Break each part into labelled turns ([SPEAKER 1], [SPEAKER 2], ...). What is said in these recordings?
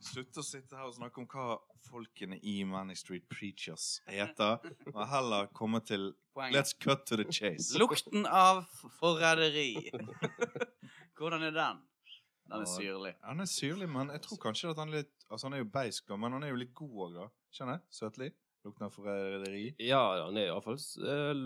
[SPEAKER 1] Slutt å sitte her og snakke om hva folkene i Manic Street Preachers heter, og heller komme til
[SPEAKER 2] Poenget.
[SPEAKER 1] Let's cut to the chase.
[SPEAKER 2] Lukten av forræderi. Hvordan er den?
[SPEAKER 1] Ja.
[SPEAKER 2] Den er syrlig.
[SPEAKER 1] Han er syrlig, men jeg tror kanskje at han er litt Altså, han er jo beisk, da, men han er jo litt god òg, da. Skjønner? jeg? Søtlig. Lukten av forræderi.
[SPEAKER 3] Ja, han er iallfall eh,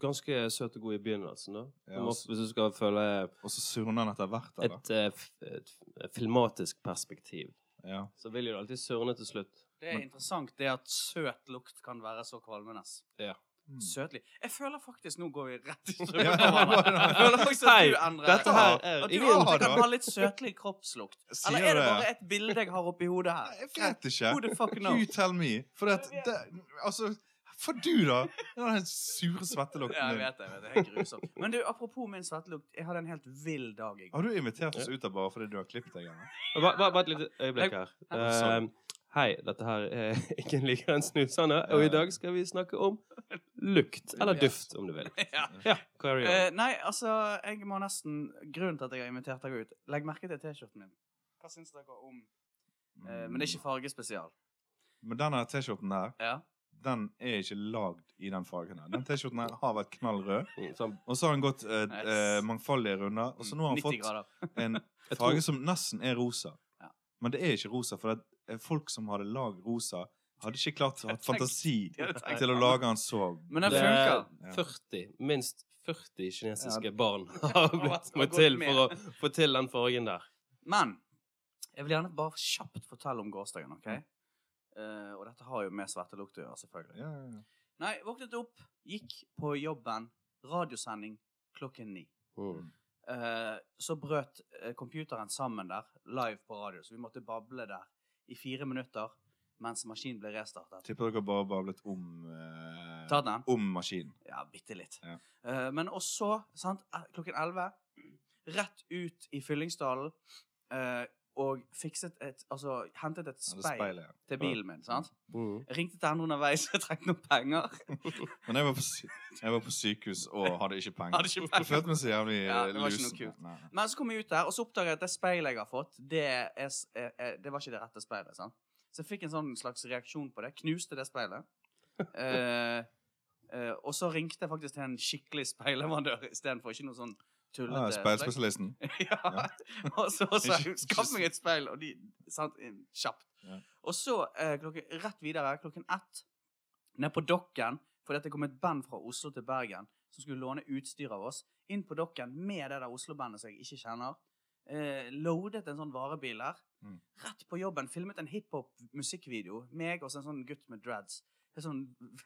[SPEAKER 3] ganske søt og god i begynnelsen, da.
[SPEAKER 1] Ja,
[SPEAKER 3] Om-
[SPEAKER 1] altså.
[SPEAKER 3] Hvis du skal føle
[SPEAKER 1] Og så surner han etter hvert, eller?
[SPEAKER 3] et, eh, f- et, f- filmatisk perspektiv,
[SPEAKER 1] Ja.
[SPEAKER 3] så vil jo det alltid surne til slutt.
[SPEAKER 2] Det er interessant det at søt lukt kan være så kvalmende.
[SPEAKER 3] Ja.
[SPEAKER 1] Mm.
[SPEAKER 2] Søtlig. Jeg føler faktisk Nå går vi rett i
[SPEAKER 1] Ja,
[SPEAKER 2] strømmen. Jeg
[SPEAKER 1] ja, ja.
[SPEAKER 2] føler faktisk at
[SPEAKER 3] Hei,
[SPEAKER 2] du endrer
[SPEAKER 3] Dette her
[SPEAKER 2] At
[SPEAKER 3] er
[SPEAKER 2] du
[SPEAKER 3] ingen
[SPEAKER 1] har
[SPEAKER 2] alltid kan
[SPEAKER 1] det.
[SPEAKER 2] ha litt søtlig kroppslukt.
[SPEAKER 1] Sier
[SPEAKER 2] Eller er det
[SPEAKER 1] det.
[SPEAKER 2] bare et bilde jeg har oppi hodet
[SPEAKER 1] Nei,
[SPEAKER 2] her?
[SPEAKER 1] Jeg vet ikke.
[SPEAKER 2] Who the fuck knows?
[SPEAKER 1] You tell me. For at det, Altså, for du, da! Den sure
[SPEAKER 2] Ja,
[SPEAKER 1] svettelukten din.
[SPEAKER 2] jeg vet det. jeg vet det. Helt grusomt. Men du, apropos min svettelukt. Jeg hadde en helt vill dag. Jeg.
[SPEAKER 1] Har du invitert oss ut av bare fordi du har klippet deg? Anna?
[SPEAKER 3] Bare, bare, bare et lite øyeblikk her.
[SPEAKER 1] Hei, sorry.
[SPEAKER 3] Eh, hei, dette her er Ikke en liker en snusende, og i dag skal vi snakke om lukt. Eller duft, om du vil.
[SPEAKER 2] Ja.
[SPEAKER 3] Ja, carry on.
[SPEAKER 2] Eh, nei, altså, jeg må nesten Grunnen til at jeg har invitert deg ut Legg merke til T-skjorten min. Hva syns dere om eh,
[SPEAKER 1] Mm.
[SPEAKER 2] Men det er ikke fargespesial.
[SPEAKER 1] Men denne T-skjorten der,
[SPEAKER 2] Ja.
[SPEAKER 1] den er ikke lagd i den fargen her. Den T-skjorten her har vært knall rød,
[SPEAKER 3] Mm, sånn.
[SPEAKER 1] og så har den gått eh,
[SPEAKER 2] Yes.
[SPEAKER 1] eh, mangfoldige runder, og så Altså, nå har han
[SPEAKER 2] 90
[SPEAKER 1] fått
[SPEAKER 2] grader.
[SPEAKER 1] en
[SPEAKER 3] Jeg tror-
[SPEAKER 1] farge som nesten er rosa.
[SPEAKER 2] Ja.
[SPEAKER 1] Men det er ikke rosa, for at eh, folk som hadde lagd rosa, hadde ikke klart å ha fantasi
[SPEAKER 2] Ja, det er-
[SPEAKER 1] til å lage han så
[SPEAKER 2] Men den
[SPEAKER 3] Det
[SPEAKER 2] funker.
[SPEAKER 3] er 40, minst 40 kinesiske barn
[SPEAKER 2] Har
[SPEAKER 3] har blitt
[SPEAKER 2] vært- har
[SPEAKER 3] må
[SPEAKER 2] gått
[SPEAKER 3] til
[SPEAKER 2] med.
[SPEAKER 3] for å få til den fargen der.
[SPEAKER 2] Men jeg vil gjerne bare kjapt fortelle om gårsdagen, OK? Eh, og dette har jo med svettelukt å gjøre, selvfølgelig.
[SPEAKER 1] Mm. ja, ja, ja.
[SPEAKER 2] Nei, våknet opp, gikk på jobben, radiosending klokken ni.
[SPEAKER 3] Mm.
[SPEAKER 2] Eh, så brøt eh, computeren sammen der, live på radio, så vi måtte bable der i fire minutter mens maskinen ble restartet.
[SPEAKER 1] Tipper dere bare bablet om eh,
[SPEAKER 2] Ta den.
[SPEAKER 1] Om maskinen.
[SPEAKER 2] Ja, bitte litt.
[SPEAKER 1] Ja.
[SPEAKER 2] Eh, men også, sant, eh, klokken 11, rett ut i Fyllingsdalen, eh, og fikset et, altså, hentet et
[SPEAKER 1] Eller
[SPEAKER 2] speil,
[SPEAKER 1] speilet. ja.
[SPEAKER 2] til bilen min, sant?
[SPEAKER 3] Mm.
[SPEAKER 2] Jeg ringte til henne underveis, jeg trengte noen penger.
[SPEAKER 1] Men jeg var, på sy jeg var på sykehus og hadde ikke penger.
[SPEAKER 2] Hadde ikke
[SPEAKER 1] Jeg
[SPEAKER 2] penger.
[SPEAKER 1] følte meg så jævlig
[SPEAKER 2] Ja,
[SPEAKER 1] eh,
[SPEAKER 2] det var ikke
[SPEAKER 1] lusen.
[SPEAKER 2] noe kult.
[SPEAKER 1] Nei.
[SPEAKER 2] Men så kom jeg ut der, og så oppdaget jeg at det speilet jeg har fått, det, er, s- er, er, det var ikke det rette speilet. sant? Så jeg fikk en sånn slags reaksjon på det. Knuste det speilet. Eh, eh, og så ringte jeg faktisk til en skikkelig speilevandør istedenfor. Ikke noe sånn tullete
[SPEAKER 1] Ah, Speilspesialisten.
[SPEAKER 2] ja. og så sa jeg skaff meg et speil, og de sant, inn, kjapt.
[SPEAKER 1] Ja.
[SPEAKER 2] Og så eh, klokken, rett videre, klokken ett, ned på dokken, fordi at det kom et band fra Oslo til Bergen som skulle låne utstyr av oss, inn på dokken med det der Oslo-bandet som jeg ikke kjenner. Eh, loadet en sånn varebil der.
[SPEAKER 1] Mm.
[SPEAKER 2] Rett på jobben filmet en hiphop-musikkvideo. Meg og så en sånn gutt med dreads. En sånn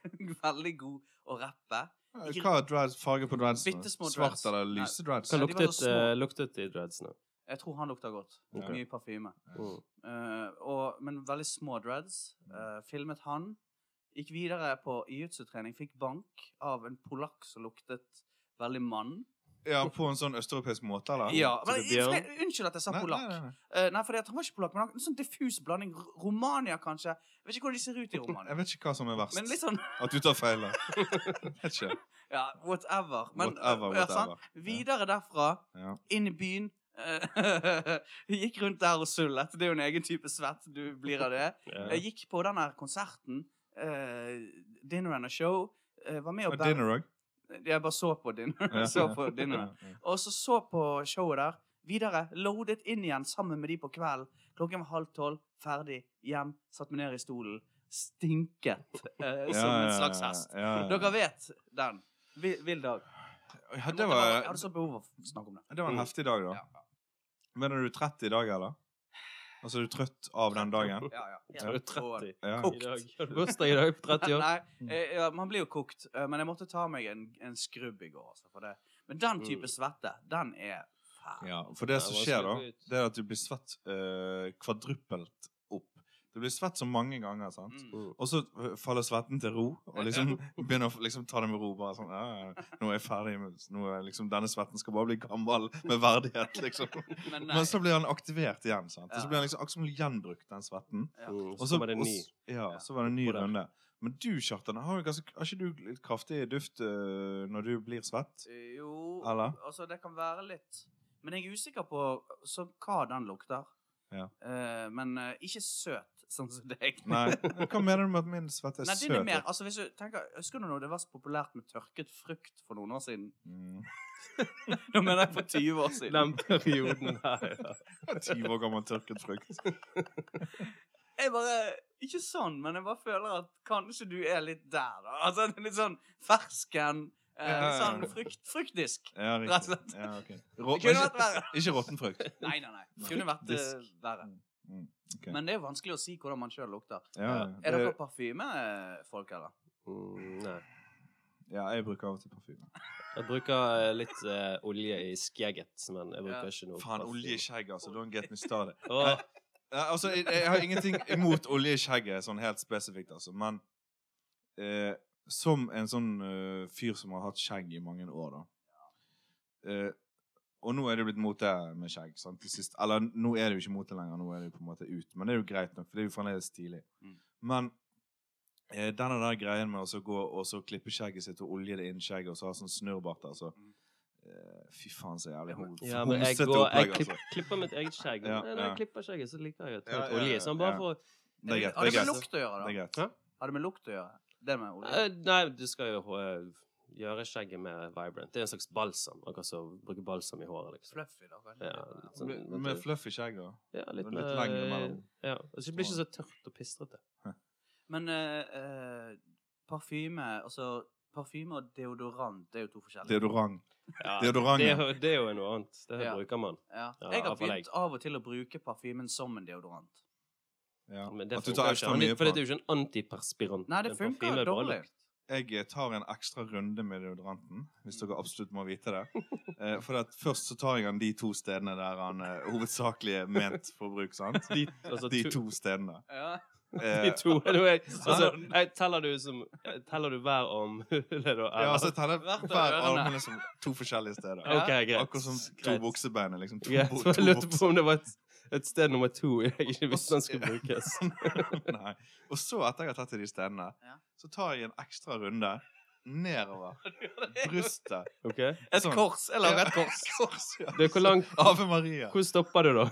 [SPEAKER 2] veldig god å rappe. Ikke-
[SPEAKER 1] Hva er dreads, farge på dreadsene?
[SPEAKER 2] Bittesmå
[SPEAKER 1] Svart
[SPEAKER 2] dreads.
[SPEAKER 1] eller lyse dreads?
[SPEAKER 3] Hva
[SPEAKER 2] de var
[SPEAKER 3] luktet,
[SPEAKER 2] så små.
[SPEAKER 3] eh, luktet de dreadsene?
[SPEAKER 2] Jeg tror han lukter godt.
[SPEAKER 1] Ok.
[SPEAKER 2] Mye parfyme.
[SPEAKER 3] Mm.
[SPEAKER 2] Eh, og, men veldig små dreads.
[SPEAKER 1] Mm.
[SPEAKER 2] Eh, filmet han. Gikk videre på jiu-jitsu-trening. Fikk bank av en polakk som luktet veldig mann.
[SPEAKER 1] Ja, på en sånn østeuropeisk måte, eller?
[SPEAKER 2] Ja,
[SPEAKER 3] Så
[SPEAKER 2] men,
[SPEAKER 3] det blir-
[SPEAKER 2] jeg- Unnskyld at jeg sa
[SPEAKER 1] Nei,
[SPEAKER 2] polakk.
[SPEAKER 1] nei, nei, nei.
[SPEAKER 2] Eh, nei, fordi at han var ikke polakk, men han, en sånn diffus blanding. R- Romania, kanskje. Jeg vet ikke hvordan de ser ut i
[SPEAKER 1] Jeg
[SPEAKER 2] Romania.
[SPEAKER 1] vet ikke hva som er verst.
[SPEAKER 2] Men litt sånn
[SPEAKER 1] At du tar feil. da. Vet ikke.
[SPEAKER 2] Ja, whatever. Men,
[SPEAKER 1] Whatever,
[SPEAKER 2] ja, sant?
[SPEAKER 1] whatever.
[SPEAKER 2] Videre derfra,
[SPEAKER 1] Ja.
[SPEAKER 2] inn i byen. eh, gikk rundt der og sullet. Det er jo en egen type svett du blir av det.
[SPEAKER 3] Ja.
[SPEAKER 2] Jeg gikk på den her konserten. eh, dinner and a show. eh, var med
[SPEAKER 1] Og
[SPEAKER 2] og band-
[SPEAKER 1] dinner òg.
[SPEAKER 2] Jeg bare så på dinner. så på dinner. Og så så på showet der. Videre. Loadet inn igjen sammen med de på kvelden. Klokken var halv tolv. Ferdig. Hjem. Satt meg ned i stolen. Stinket eh, som en slags hest.
[SPEAKER 1] Ja, ja.
[SPEAKER 2] Dere vet den. Vi- Vill dag.
[SPEAKER 1] ja,
[SPEAKER 2] Jeg,
[SPEAKER 1] det,
[SPEAKER 2] måtte bare- jeg
[SPEAKER 1] var,
[SPEAKER 2] hadde så behov for å snakke om det.
[SPEAKER 1] det var en
[SPEAKER 3] Mm.
[SPEAKER 1] heftig dag, da. Men er du trett i dag, eller? Altså, er du trøtt av den dagen?
[SPEAKER 2] Ja, ja.
[SPEAKER 3] Jeg tror det er 30
[SPEAKER 1] Ja.
[SPEAKER 3] i dag. Har du bursdag i dag på 30 år?
[SPEAKER 2] Nei,
[SPEAKER 1] Mm.
[SPEAKER 2] eh, ja, man blir jo kokt. eh, Men jeg måtte ta meg en, en skrubb i går. Altså, for det. Men den type
[SPEAKER 3] Mm.
[SPEAKER 2] svette, den er fæl.
[SPEAKER 1] Ja, for det
[SPEAKER 3] Ja,
[SPEAKER 1] som
[SPEAKER 3] bare
[SPEAKER 1] skjer da,
[SPEAKER 3] slipp ut.
[SPEAKER 1] det er at du blir svett eh, kvadruppelt opp. Du blir svett så mange ganger, sant?
[SPEAKER 2] Mm.
[SPEAKER 3] Mm.
[SPEAKER 1] Og så eh, faller svetten til ro, og liksom begynner å f- liksom, ta det med ro. Bare sånn ja, ja, ja, 'Nå er jeg ferdig med nå er, liksom, Denne svetten skal bare bli gammel med verdighet', liksom.
[SPEAKER 2] Men nei.
[SPEAKER 1] Men så blir den aktivert igjen. sant? Og
[SPEAKER 2] Ja.
[SPEAKER 1] så blir den liksom akkurat som gjenbrukt, den svetten.
[SPEAKER 2] eh, Ja.
[SPEAKER 3] Mm.
[SPEAKER 1] Og
[SPEAKER 3] Så var det
[SPEAKER 1] og
[SPEAKER 3] ni.
[SPEAKER 1] s- Ja,
[SPEAKER 2] Ja.
[SPEAKER 1] så var det en ny
[SPEAKER 3] På den.
[SPEAKER 1] runde. Men du, Kjartan, har, jo ganske, har ikke du litt kraftig duft eh, når du blir svett?
[SPEAKER 2] Eh, Jo,
[SPEAKER 1] Eller?
[SPEAKER 2] altså det kan være litt Men jeg er usikker på så hva den lukter.
[SPEAKER 1] Ja.
[SPEAKER 2] Eh, men eh, ikke søt, sånn som deg.
[SPEAKER 1] Nei, hva mener du med at min svette er
[SPEAKER 2] Nei,
[SPEAKER 1] søt?
[SPEAKER 2] din er mer, altså hvis du tenker, Husker du når det var så populært med tørket frukt for noen år siden?
[SPEAKER 1] Mm.
[SPEAKER 2] Nå mener jeg for 20 år siden.
[SPEAKER 3] Den perioden her, ja.
[SPEAKER 1] 20 år gammel tørket frukt.
[SPEAKER 2] Jeg bare, Ikke sånn, men jeg bare føler at kanskje du er litt der, da. Altså det er Litt sånn fersken, eh,
[SPEAKER 1] Ja, ja, ja.
[SPEAKER 2] sånn frukt, fruktdisk.
[SPEAKER 1] Ja,
[SPEAKER 2] Rett og
[SPEAKER 1] riktig.
[SPEAKER 2] slett.
[SPEAKER 1] Ja, ok. Rå,
[SPEAKER 2] Det kunne
[SPEAKER 1] ikke,
[SPEAKER 2] vært verre.
[SPEAKER 1] ikke råtten frukt.
[SPEAKER 2] Nei, nei, nei. Det kunne vært eh,
[SPEAKER 1] Fruktdisk.
[SPEAKER 2] verre.
[SPEAKER 1] Mm, ok.
[SPEAKER 2] Men det er jo vanskelig å si hvordan man sjøl lukter.
[SPEAKER 1] Ja, ja.
[SPEAKER 2] Er dere
[SPEAKER 1] Det-
[SPEAKER 2] parfymefolk, eller?
[SPEAKER 3] Mm, nei.
[SPEAKER 1] ja, jeg bruker av og til parfyme.
[SPEAKER 3] Jeg bruker eh, litt eh, olje i skjegget, men jeg bruker
[SPEAKER 2] Ja.
[SPEAKER 3] ikke noe
[SPEAKER 1] Faen,
[SPEAKER 3] parfyme.
[SPEAKER 1] olje i skjegget, altså. Don't get me started.
[SPEAKER 3] Åh,
[SPEAKER 1] Ja, altså, jeg, jeg har ingenting imot olje i skjegget, sånn helt spesifikt, altså. Men eh, som en sånn eh, fyr som har hatt skjegg i mange år, da. Eh, og nå er det blitt mote med skjegg. sant? Til sist. Eller nå er det jo ikke mote lenger, nå er det jo på en måte ut. Men det er jo greit nok, for det er jo fremdeles stilig.
[SPEAKER 2] Mm.
[SPEAKER 1] Men eh, denne der greien med å så gå og så klippe skjegget sitt og olje det inn i skjegget og så ha sånn snurrbart, altså.
[SPEAKER 2] Mm.
[SPEAKER 1] Eh, fy faen, så jævlig hom-
[SPEAKER 3] ja, men jeg,
[SPEAKER 1] homsete
[SPEAKER 3] går, jeg
[SPEAKER 1] opplegg,
[SPEAKER 3] klipp,
[SPEAKER 1] altså.
[SPEAKER 3] klipper mitt eget skjegg.
[SPEAKER 1] Ja,
[SPEAKER 3] men Når
[SPEAKER 1] ja.
[SPEAKER 3] jeg klipper skjegget, så liker jeg å ta
[SPEAKER 1] Ja,
[SPEAKER 3] litt
[SPEAKER 1] ja,
[SPEAKER 3] olje.
[SPEAKER 1] ja,
[SPEAKER 3] Sånn bare
[SPEAKER 1] ja.
[SPEAKER 3] for
[SPEAKER 1] Det er greit. Det
[SPEAKER 2] Har det
[SPEAKER 1] er
[SPEAKER 2] med
[SPEAKER 1] greit.
[SPEAKER 2] lukt å gjøre,
[SPEAKER 1] Det er
[SPEAKER 2] da?
[SPEAKER 1] greit.
[SPEAKER 3] Hæ?
[SPEAKER 2] Har det med lukt å gjøre? Det med olje?
[SPEAKER 3] Eh, Nei, du skal jo eh, gjøre skjegget mer vibrant. Det er en slags balsam. Akkurat som å bruke balsam i håret, liksom.
[SPEAKER 2] Fluffy, da? kanskje?
[SPEAKER 3] Ja, litt sånn,
[SPEAKER 1] Med, med fluffy skjegg da.
[SPEAKER 3] ja, litt,
[SPEAKER 1] litt
[SPEAKER 3] mer-
[SPEAKER 1] lengre mellom.
[SPEAKER 3] Ja, og så blir det ikke så tørt og pistrete.
[SPEAKER 2] Men eh, eh, parfyme Altså, parfyme og deodorant det er jo to forskjellige.
[SPEAKER 1] Deodorant.
[SPEAKER 3] Ja, det,
[SPEAKER 1] Deodorant.
[SPEAKER 3] er
[SPEAKER 1] ja.
[SPEAKER 3] jo, det er jo noe annet. Det
[SPEAKER 2] Ja.
[SPEAKER 3] bruker man.
[SPEAKER 2] Ja.
[SPEAKER 3] Ja,
[SPEAKER 2] Jeg har
[SPEAKER 3] iallfall
[SPEAKER 2] begynt av og til å bruke parfymen som en deodorant.
[SPEAKER 1] Ja.
[SPEAKER 3] Men det
[SPEAKER 1] At du
[SPEAKER 3] funker
[SPEAKER 1] tar
[SPEAKER 3] jo
[SPEAKER 1] ekstra
[SPEAKER 3] ikke. Men
[SPEAKER 1] mye
[SPEAKER 3] det- For
[SPEAKER 1] på
[SPEAKER 3] det er jo ikke en antiperspirant.
[SPEAKER 2] Nei, det
[SPEAKER 3] En
[SPEAKER 2] funker
[SPEAKER 3] parfyme er bare
[SPEAKER 2] dårlig.
[SPEAKER 3] lukt.
[SPEAKER 1] Jeg eh, tar en ekstra runde med deodoranten, hvis dere absolutt må vite det. Eh, for at først så tar jeg den de to stedene der han eh, hovedsakelig er ment for bruk, sant?
[SPEAKER 3] De, altså,
[SPEAKER 1] De
[SPEAKER 3] tu-
[SPEAKER 1] to stedene.
[SPEAKER 2] Ja.
[SPEAKER 1] Eh,
[SPEAKER 3] De to. er det jo jeg- Altså,
[SPEAKER 1] Sånn.
[SPEAKER 3] jeg teller du som Teller du hver om hullet, da?
[SPEAKER 1] ja, altså jeg teller
[SPEAKER 2] Hvert av
[SPEAKER 1] hver
[SPEAKER 2] ørene.
[SPEAKER 1] arm liksom to forskjellige steder.
[SPEAKER 3] OK, greit.
[SPEAKER 1] Akkurat som to
[SPEAKER 3] Greit.
[SPEAKER 1] buksebein er liksom to,
[SPEAKER 3] Greit,
[SPEAKER 1] bo-
[SPEAKER 3] for jeg
[SPEAKER 1] to
[SPEAKER 3] lurte på
[SPEAKER 1] bukser.
[SPEAKER 3] om det var et, et sted nummer to jeg ikke
[SPEAKER 1] Og-
[SPEAKER 3] visste den skulle brukes.
[SPEAKER 1] Nei. Og så, etter jeg har tatt i de stedene,
[SPEAKER 2] Ja.
[SPEAKER 1] så tar jeg en ekstra runde nedover brystet.
[SPEAKER 3] Ok?
[SPEAKER 2] Et
[SPEAKER 1] Sånn.
[SPEAKER 2] kors. Eller
[SPEAKER 1] Ja,
[SPEAKER 2] et kors.
[SPEAKER 1] ja.
[SPEAKER 3] Det er hvor langt
[SPEAKER 1] Ave Maria.
[SPEAKER 3] Hvor stopper du, da?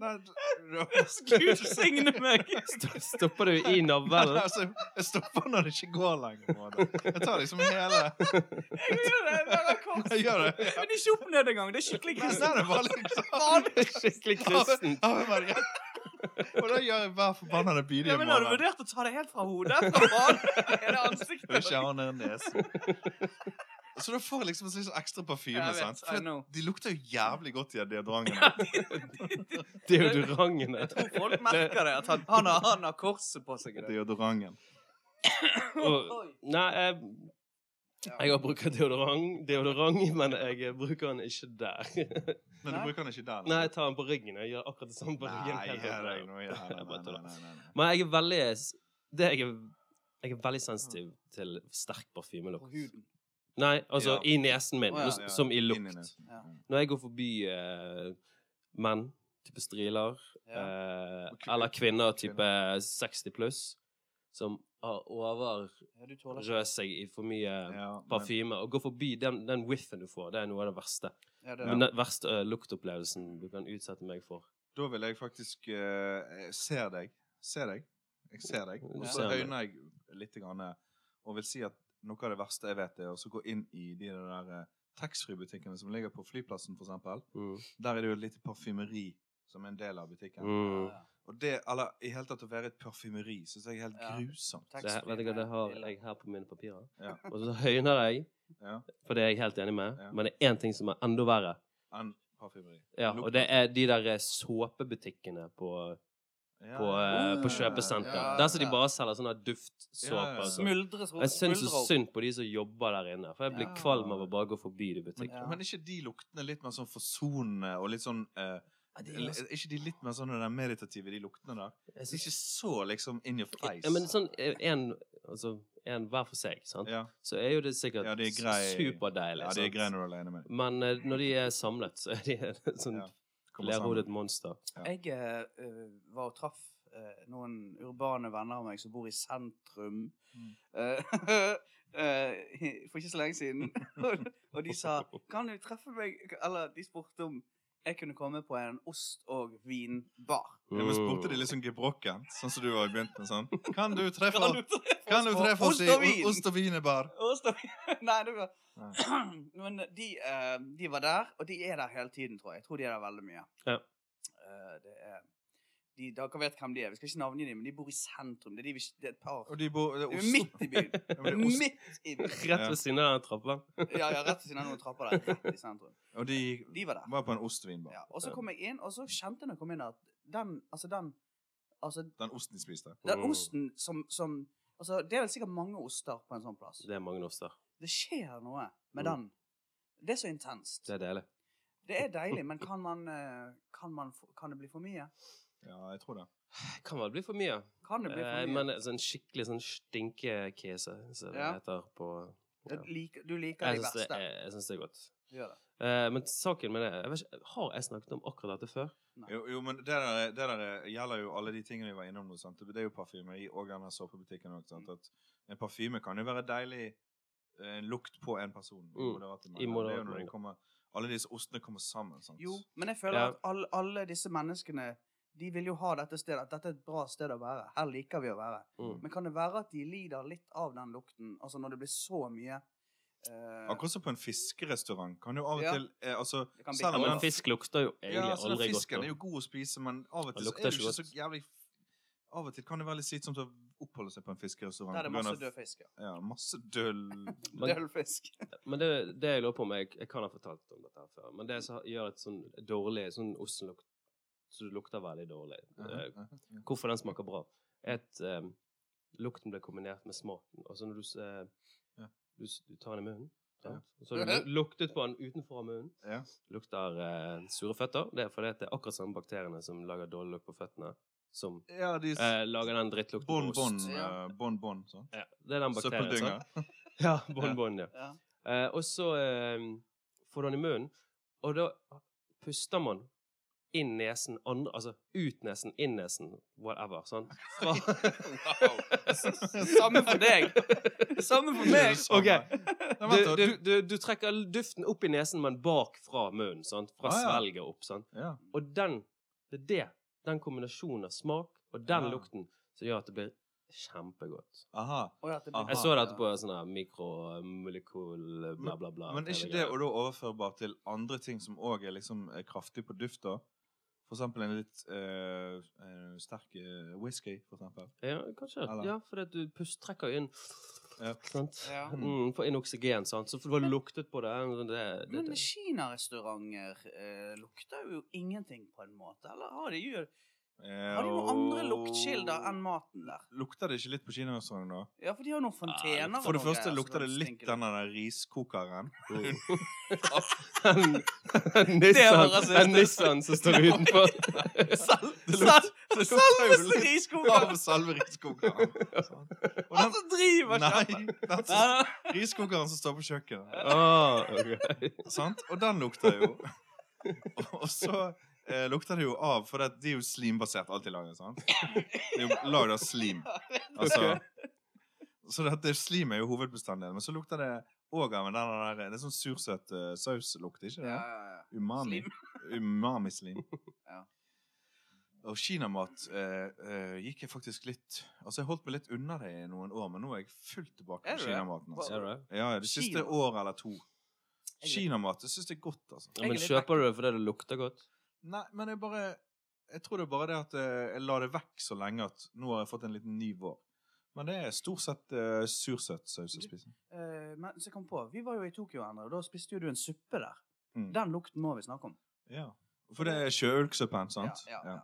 [SPEAKER 1] Nei, du- du-
[SPEAKER 2] Gud signe meg!
[SPEAKER 3] Sto- Stopper du i navlen?
[SPEAKER 1] altså, jeg stopper når det ikke går lenger. på en måte. Jeg tar liksom hele
[SPEAKER 2] Jeg gjør det! Bare kors.
[SPEAKER 1] Jeg gjør det.
[SPEAKER 2] Men det er ikke opp ned engang. Det er skikkelig
[SPEAKER 1] Nei,
[SPEAKER 2] kristent.
[SPEAKER 1] nei, det var liksom
[SPEAKER 3] Skikkelig kristen.
[SPEAKER 1] Ave Maria. Og da gjør jeg hver forbannede bide
[SPEAKER 2] Ja,
[SPEAKER 1] i
[SPEAKER 2] men har du
[SPEAKER 1] morgen.
[SPEAKER 2] vurdert å ta det helt fra hodet? Fra banen? Er det ansiktet?
[SPEAKER 1] Og skjærer ned nesen. Så da får jeg liksom en slags ekstra parfyme.
[SPEAKER 2] Jeg vet,
[SPEAKER 1] sant? For
[SPEAKER 2] I know.
[SPEAKER 1] de lukter jo jævlig godt, de deodorantene.
[SPEAKER 3] Deodorantene.
[SPEAKER 2] Jeg tror folk merker det. At han, han, har, han har korset på seg. i det.
[SPEAKER 1] Deodoranten.
[SPEAKER 3] Og- Nei, jeg, jeg har brukt deodorant, deodorant, men jeg bruker den ikke der.
[SPEAKER 1] Men du
[SPEAKER 2] Nei.
[SPEAKER 1] bruker den ikke der? da?
[SPEAKER 3] Nei, jeg tar den på ryggen. Jeg gjør akkurat det samme på ryggen.
[SPEAKER 1] Nei,
[SPEAKER 3] Helt
[SPEAKER 1] gjør
[SPEAKER 3] rett.
[SPEAKER 1] jeg noe? Ja,
[SPEAKER 3] Jeg
[SPEAKER 1] nei,
[SPEAKER 3] bare
[SPEAKER 1] nei,
[SPEAKER 3] tuller.
[SPEAKER 1] nei, nei, nei.
[SPEAKER 3] Men jeg er veldig det jeg, er, jeg er veldig sensitiv til sterk
[SPEAKER 2] På
[SPEAKER 3] parfymelukt.
[SPEAKER 2] huden.
[SPEAKER 3] Nei, altså
[SPEAKER 1] Ja.
[SPEAKER 3] i nesen min,
[SPEAKER 2] Å, ja.
[SPEAKER 3] nå s- som i
[SPEAKER 1] Inn i
[SPEAKER 3] lukt.
[SPEAKER 1] nesen.
[SPEAKER 2] Ja.
[SPEAKER 3] Når jeg går forbi eh, menn, type striler,
[SPEAKER 2] Ja.
[SPEAKER 3] eh,
[SPEAKER 1] Og kvin-
[SPEAKER 3] eller kvinner, type 60 pluss, som har overrød
[SPEAKER 2] Ja, du tåler ikke
[SPEAKER 3] seg i for mye
[SPEAKER 1] Ja, men-
[SPEAKER 3] parfyme, og går forbi den, den whiffen du får, det er noe av det verste.
[SPEAKER 2] ja, det, er
[SPEAKER 3] Men
[SPEAKER 2] det.
[SPEAKER 3] den verste eh, luktopplevelsen du kan utsette meg for.
[SPEAKER 1] Da vil jeg faktisk eh, Jeg ser deg. Ser deg. Jeg ser deg.
[SPEAKER 3] Du
[SPEAKER 1] Og så
[SPEAKER 3] ser meg.
[SPEAKER 1] øyner jeg litt grann, eh, og vil si at noe av det verste jeg vet, er å så gå inn i de der eh, taxfree-butikkene som ligger på flyplassen, for eksempel.
[SPEAKER 3] Mm.
[SPEAKER 1] Der er det jo et lite parfymeri som er en del av butikken.
[SPEAKER 3] Mm.
[SPEAKER 2] Ja, ja.
[SPEAKER 1] Og det, eller i hele tatt å være et parfymeri, syns jeg er helt
[SPEAKER 2] Ja.
[SPEAKER 1] grusomt.
[SPEAKER 3] Det,
[SPEAKER 2] Taxfree,
[SPEAKER 3] vet du hva,
[SPEAKER 2] nei,
[SPEAKER 3] det har
[SPEAKER 2] ille.
[SPEAKER 3] jeg her på mine papirer.
[SPEAKER 1] Ja.
[SPEAKER 3] Og så høyner jeg,
[SPEAKER 1] Ja.
[SPEAKER 3] for det er jeg helt enig med,
[SPEAKER 1] Ja.
[SPEAKER 3] men det er én ting som er enda verre.
[SPEAKER 1] Enn parfymeri.
[SPEAKER 3] Ja,
[SPEAKER 1] Lukt.
[SPEAKER 3] og det er de der eh, såpebutikkene på,
[SPEAKER 1] Ja,
[SPEAKER 3] på,
[SPEAKER 1] ja,
[SPEAKER 3] eh,
[SPEAKER 1] ja, ja,
[SPEAKER 3] på kjøpesenter.
[SPEAKER 1] ja, ja.
[SPEAKER 3] Der som de bare selger sånne duftsåper.
[SPEAKER 1] Ja, ja.
[SPEAKER 3] og sånn.
[SPEAKER 2] Smuldres
[SPEAKER 3] Jeg syns så
[SPEAKER 2] smuldrer opp.
[SPEAKER 3] synd på de som jobber der inne, for jeg blir
[SPEAKER 1] Ja.
[SPEAKER 3] kvalm av å bare gå forbi de
[SPEAKER 1] Men,
[SPEAKER 3] butikkene.
[SPEAKER 2] Ja.
[SPEAKER 1] men er ikke de luktene litt mer sånn forsonende og litt sånn eh,
[SPEAKER 3] Ja, de er
[SPEAKER 1] Er ikke de litt mer sånn den der meditative, de luktene der?
[SPEAKER 3] Jeg
[SPEAKER 1] Det er
[SPEAKER 3] synes-
[SPEAKER 1] ikke så liksom in your face.
[SPEAKER 3] Ja, men sånn eh, en, altså, en hver for seg, sant?
[SPEAKER 1] Ja,
[SPEAKER 3] så er jo det sikkert
[SPEAKER 1] Ja, de er grei-
[SPEAKER 3] superdeilig.
[SPEAKER 1] ja det er
[SPEAKER 3] sant?
[SPEAKER 1] greier når du er alene med dem.
[SPEAKER 3] Men eh, når de er samlet, så er de et sånt
[SPEAKER 1] Ja, Kommer sånn.
[SPEAKER 3] lerhodet
[SPEAKER 1] sammen.
[SPEAKER 3] monster.
[SPEAKER 1] Ja.
[SPEAKER 2] Jeg eh, eh, var og traff eh, noen urbane venner av meg som bor i sentrum.
[SPEAKER 1] Mm.
[SPEAKER 2] eh, eh, for ikke så lenge siden. og de sa 'Kan du treffe meg?' Eller de spurte om jeg kunne komme på en ost- og vinbar.
[SPEAKER 1] Ja, men spurte
[SPEAKER 3] Mm.
[SPEAKER 1] de litt sånn gebrokken, sånn som du var i begynnelsen? Sånn. Kan du treffe,
[SPEAKER 2] Kan du treffe
[SPEAKER 1] kan du
[SPEAKER 2] oss på
[SPEAKER 1] treffe oss
[SPEAKER 2] ost
[SPEAKER 1] i
[SPEAKER 2] og vin?
[SPEAKER 1] ost og vinebar?
[SPEAKER 2] Ost og vin. Nei, det var Men de, eh, de var der, og de er der hele tiden, tror jeg. Jeg tror de er der veldig mye.
[SPEAKER 3] Ja.
[SPEAKER 2] Eh, det er de, Dere vet hvem de er. Vi skal ikke navngi dem, men de bor i sentrum. Det er, de vi, ikke- det er et par
[SPEAKER 1] Og de bor det er
[SPEAKER 2] Det er
[SPEAKER 1] ost.
[SPEAKER 2] midt i byen.
[SPEAKER 1] Ja, men det er ost.
[SPEAKER 2] Midt i byen.
[SPEAKER 3] Rett ved siden av den trappa.
[SPEAKER 2] Ja, ja, rett ved siden av noen trapper der. Rett i sentrum.
[SPEAKER 1] Og de
[SPEAKER 2] De var der.
[SPEAKER 1] var på en ostvinbar.
[SPEAKER 2] Ja, og så kom jeg inn, og så kjente jeg når jeg kom inn at den, altså den, altså
[SPEAKER 1] Den osten de spiste.
[SPEAKER 2] den
[SPEAKER 3] Mm.
[SPEAKER 2] osten som, som Altså, det er vel sikkert mange oster på en sånn plass.
[SPEAKER 3] Det er mange oster.
[SPEAKER 2] Det skjer noe med
[SPEAKER 3] Mm.
[SPEAKER 2] den. Det er så intenst.
[SPEAKER 3] Det er deilig.
[SPEAKER 2] Det er deilig, men kan man, eh, kan man få- Kan det bli for mye?
[SPEAKER 1] Ja, jeg tror det.
[SPEAKER 3] Det Kan vel bli for mye.
[SPEAKER 2] Kan det bli
[SPEAKER 3] Eh,
[SPEAKER 2] for mye?
[SPEAKER 3] men sånn skikkelig sånn stinkekese, som det
[SPEAKER 2] Ja.
[SPEAKER 3] heter på ja.
[SPEAKER 2] Du liker- du liker
[SPEAKER 3] Jeg
[SPEAKER 2] de
[SPEAKER 3] syns det,
[SPEAKER 2] verste.
[SPEAKER 3] er- jeg synes det er godt.
[SPEAKER 2] Du gjør det.
[SPEAKER 3] Eh, men saken med det jeg vet ikke, Har jeg snakket om akkurat dette før?
[SPEAKER 1] Jo, jo men det der, det der gjelder jo alle de tingene vi var innom nå. sant? Det er jo parfyme i og denne såpebutikken òg.
[SPEAKER 3] Mm.
[SPEAKER 1] sant? At En parfyme kan jo være deilig eh, en lukt på en person. i
[SPEAKER 3] Mm,
[SPEAKER 1] moderate
[SPEAKER 3] i
[SPEAKER 1] mengder. Det er
[SPEAKER 3] moderate
[SPEAKER 1] jo når de
[SPEAKER 3] mengder.
[SPEAKER 1] kommer, alle disse ostene kommer sammen. sant?
[SPEAKER 2] Jo, men jeg føler
[SPEAKER 3] Ja.
[SPEAKER 2] at alle, alle disse menneskene de vil jo ha dette stedet, at dette er et bra sted å være. Her liker vi å være.
[SPEAKER 3] Mm.
[SPEAKER 2] Men kan det være at de lider litt av den lukten, altså når det blir så mye eh,
[SPEAKER 1] Akkurat som på en fiskerestaurant kan jo av og
[SPEAKER 2] Ja.
[SPEAKER 1] til eh, altså,
[SPEAKER 2] Det kan bli
[SPEAKER 1] selv
[SPEAKER 3] Ja,
[SPEAKER 1] om
[SPEAKER 3] men
[SPEAKER 1] den-
[SPEAKER 3] fisk lukter jo
[SPEAKER 1] ja,
[SPEAKER 3] egentlig
[SPEAKER 1] altså, den
[SPEAKER 3] aldri godt.
[SPEAKER 1] fisken
[SPEAKER 3] da.
[SPEAKER 1] er jo god å spise, men av og
[SPEAKER 3] Den
[SPEAKER 1] til så
[SPEAKER 3] lukter
[SPEAKER 1] er det jo
[SPEAKER 3] ikke
[SPEAKER 1] ikke så
[SPEAKER 3] godt.
[SPEAKER 1] jævlig Av og til kan det være litt slitsomt å oppholde seg på en fiskerestaurant.
[SPEAKER 2] Der er det
[SPEAKER 1] på grunn
[SPEAKER 2] masse
[SPEAKER 1] av-
[SPEAKER 2] død fisk, ja.
[SPEAKER 1] Ja, masse død
[SPEAKER 3] Men-
[SPEAKER 2] Død fisk.
[SPEAKER 3] Men det, det jeg lurer på om jeg, jeg kan ha fortalt om dette her før, men det som gjør et sånn dårlig sånn osten luk, så det lukter veldig dårlig eh, Hvorfor den smaker bra, er at eh, lukten blir kombinert med smaken. Altså når du, s- eh,
[SPEAKER 1] Ja.
[SPEAKER 3] du, s- du tar den i munnen,
[SPEAKER 1] Ja.
[SPEAKER 3] sant? så har du lu- luktet på den utenfor av munnen.
[SPEAKER 1] Ja.
[SPEAKER 3] Lukter eh, sure føtter. Det er fordi at det er akkurat samme bakteriene som lager dårlig lukt på føttene, som
[SPEAKER 1] Ja, de s-
[SPEAKER 3] eh, lager den drittlukten på
[SPEAKER 1] Bon
[SPEAKER 3] ost.
[SPEAKER 1] bon,
[SPEAKER 2] Ja.
[SPEAKER 1] eh, bon bon, sånn.
[SPEAKER 3] Ja, det er den bakterien.
[SPEAKER 1] Søppeldynga.
[SPEAKER 3] sant? Ja, bon
[SPEAKER 1] Ja.
[SPEAKER 3] bon, ja.
[SPEAKER 2] Ja.
[SPEAKER 3] Eh, og så eh, får du den i munnen, og da puster man inn nesen, andre, altså ut nesen, inn nesen, whatever. Sånn. Fra,
[SPEAKER 2] Samme for deg. Samme for meg.
[SPEAKER 3] Ok.
[SPEAKER 1] Nei,
[SPEAKER 3] du,
[SPEAKER 1] vent da,
[SPEAKER 3] du,
[SPEAKER 1] du-
[SPEAKER 3] du, du trekker duften opp i nesen, men bak fra munnen. Sant? Fra
[SPEAKER 1] Ah,
[SPEAKER 3] svelget opp. Sant?
[SPEAKER 1] Ja.
[SPEAKER 3] Og den, det er det, den kombinasjonen av smak og den
[SPEAKER 1] Ah.
[SPEAKER 3] lukten som gjør at det blir kjempegodt.
[SPEAKER 1] Aha.
[SPEAKER 2] Oi, at det blir
[SPEAKER 1] Aha.
[SPEAKER 3] Jeg
[SPEAKER 2] bra,
[SPEAKER 3] så dette
[SPEAKER 2] ja.
[SPEAKER 3] på sånn her mikromolekul, bla, bla, bla.
[SPEAKER 1] Ah, Men er ikke det å da overførbart til andre ting som òg er liksom eh, kraftig på dufta? For eksempel en litt eh, eh, sterk eh, whisky, for eksempel.
[SPEAKER 3] Ja, kanskje.
[SPEAKER 1] Eller?
[SPEAKER 3] Ja, fordi at du pust, trekker jo inn
[SPEAKER 1] Ja.
[SPEAKER 3] Sant?
[SPEAKER 2] Ja.
[SPEAKER 3] Mm, får inn oksygen, sant. Så får du har luktet på det. det, det,
[SPEAKER 2] Men
[SPEAKER 3] det.
[SPEAKER 2] kinarestauranter eh, lukter jo ingenting, på en måte. Eller har de, jo-
[SPEAKER 1] Eh,
[SPEAKER 2] har de noen andre
[SPEAKER 1] og-
[SPEAKER 2] luktkilder enn maten der?
[SPEAKER 1] Lukter det ikke litt på kinarestauranten, da?
[SPEAKER 2] Ja, for de har noen fontener. og
[SPEAKER 1] For det
[SPEAKER 2] noen
[SPEAKER 1] første
[SPEAKER 2] greier, så
[SPEAKER 1] lukter det litt
[SPEAKER 2] stinker
[SPEAKER 1] den der riskokeren.
[SPEAKER 3] Den- den
[SPEAKER 2] Det var
[SPEAKER 3] Nissan,
[SPEAKER 2] rasistisk.
[SPEAKER 3] den Nissan som står utenfor.
[SPEAKER 2] Sel-
[SPEAKER 1] Det
[SPEAKER 2] sel-
[SPEAKER 1] lukter- det lukter jo
[SPEAKER 2] Selveste
[SPEAKER 1] litt
[SPEAKER 2] riskokeren!
[SPEAKER 1] Av selve riskokeren. Sånn. Og
[SPEAKER 2] Han
[SPEAKER 1] den,
[SPEAKER 2] som driver
[SPEAKER 1] nei,
[SPEAKER 2] kjapt!
[SPEAKER 1] den som- riskokeren som står på kjøkkenet.
[SPEAKER 3] Ah, ok.
[SPEAKER 1] Sant? Og den lukter jo. Og så eh, lukter det jo av, for det, det er jo slimbasert alt de lager. sant? Det er jo lagd av slim. Altså, Så det, det, slim er jo hovedbestanddelen. Men så lukter det òg av en den der Det er sånn sursøt uh, sauslukt, ikke det?
[SPEAKER 2] Ja, ja, ja.
[SPEAKER 1] Umami.
[SPEAKER 2] Slim.
[SPEAKER 1] Umamislim.
[SPEAKER 2] Ja.
[SPEAKER 1] Og kinamat eh, eh, gikk jeg faktisk litt Altså, jeg holdt meg litt unna det i noen år, men nå er jeg fullt tilbake
[SPEAKER 2] Er
[SPEAKER 1] på
[SPEAKER 2] du det?
[SPEAKER 1] kinamaten.
[SPEAKER 3] Ser
[SPEAKER 1] Altså.
[SPEAKER 3] du det?
[SPEAKER 1] Ja, ja, det siste
[SPEAKER 2] Kina.
[SPEAKER 1] året eller to.
[SPEAKER 2] Jeg-
[SPEAKER 1] Kinamat det syns jeg er godt, altså.
[SPEAKER 3] Ja, men
[SPEAKER 2] Jeg er litt
[SPEAKER 3] kjøper du det fordi det lukter godt?
[SPEAKER 1] Nei, men jeg bare Jeg tror det er bare det at eh, jeg la det vekk så lenge at nå har jeg fått en liten ny vår. Men det er stort sett uh, sursøt saus å spise.
[SPEAKER 2] Eh, men så jeg kom på, vi var jo i Tokyo, Endre, og da spiste jo du en suppe der.
[SPEAKER 1] Mm.
[SPEAKER 2] Den lukten må vi snakke om.
[SPEAKER 1] Ja. For det er sjøulksuppen, sant?
[SPEAKER 2] Ja, ja, ja.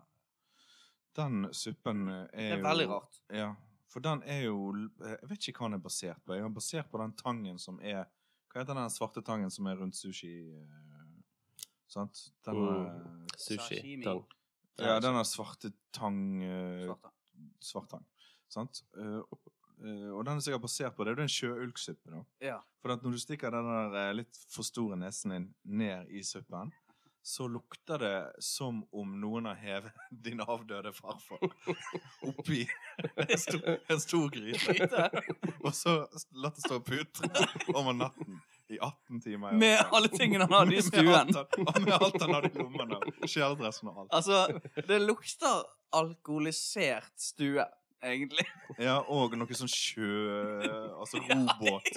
[SPEAKER 1] Den suppen eh,
[SPEAKER 2] Det
[SPEAKER 1] er jo
[SPEAKER 2] er veldig rart.
[SPEAKER 1] Ja. For den er jo l- eh, Jeg vet ikke hva den er basert på. Jeg er basert på den tangen som er Hva heter den svarte tangen som er rundt sushi? eh, sant? Den
[SPEAKER 2] Oh.
[SPEAKER 3] Mm.
[SPEAKER 1] eh,
[SPEAKER 3] Sushi.
[SPEAKER 2] Sashimi.
[SPEAKER 3] Tang.
[SPEAKER 1] Ja, den er svarte tang eh,
[SPEAKER 2] Svarte.
[SPEAKER 1] svartang. Sant? Eh, og- eh, og den er sikkert basert på det. Det er en sjøulksuppe. da.
[SPEAKER 2] Ja.
[SPEAKER 1] For at når du stikker den der eh, litt for store nesen din ned i suppen, så lukter det som om noen har hevet din avdøde farfar oppi en stor, en stor gryte,
[SPEAKER 2] Gryte.
[SPEAKER 1] og så latt det stå og putre over natten i 18 13 timer. i
[SPEAKER 2] Med
[SPEAKER 1] året.
[SPEAKER 2] alle tingene han hadde i stuen.
[SPEAKER 1] Med alt han- og med alt han hadde i lommene. Kjeledressen og alt.
[SPEAKER 2] Altså, det lukter alkoholisert stue, egentlig.
[SPEAKER 1] Ja, og noe sånn sjø... Altså robåt.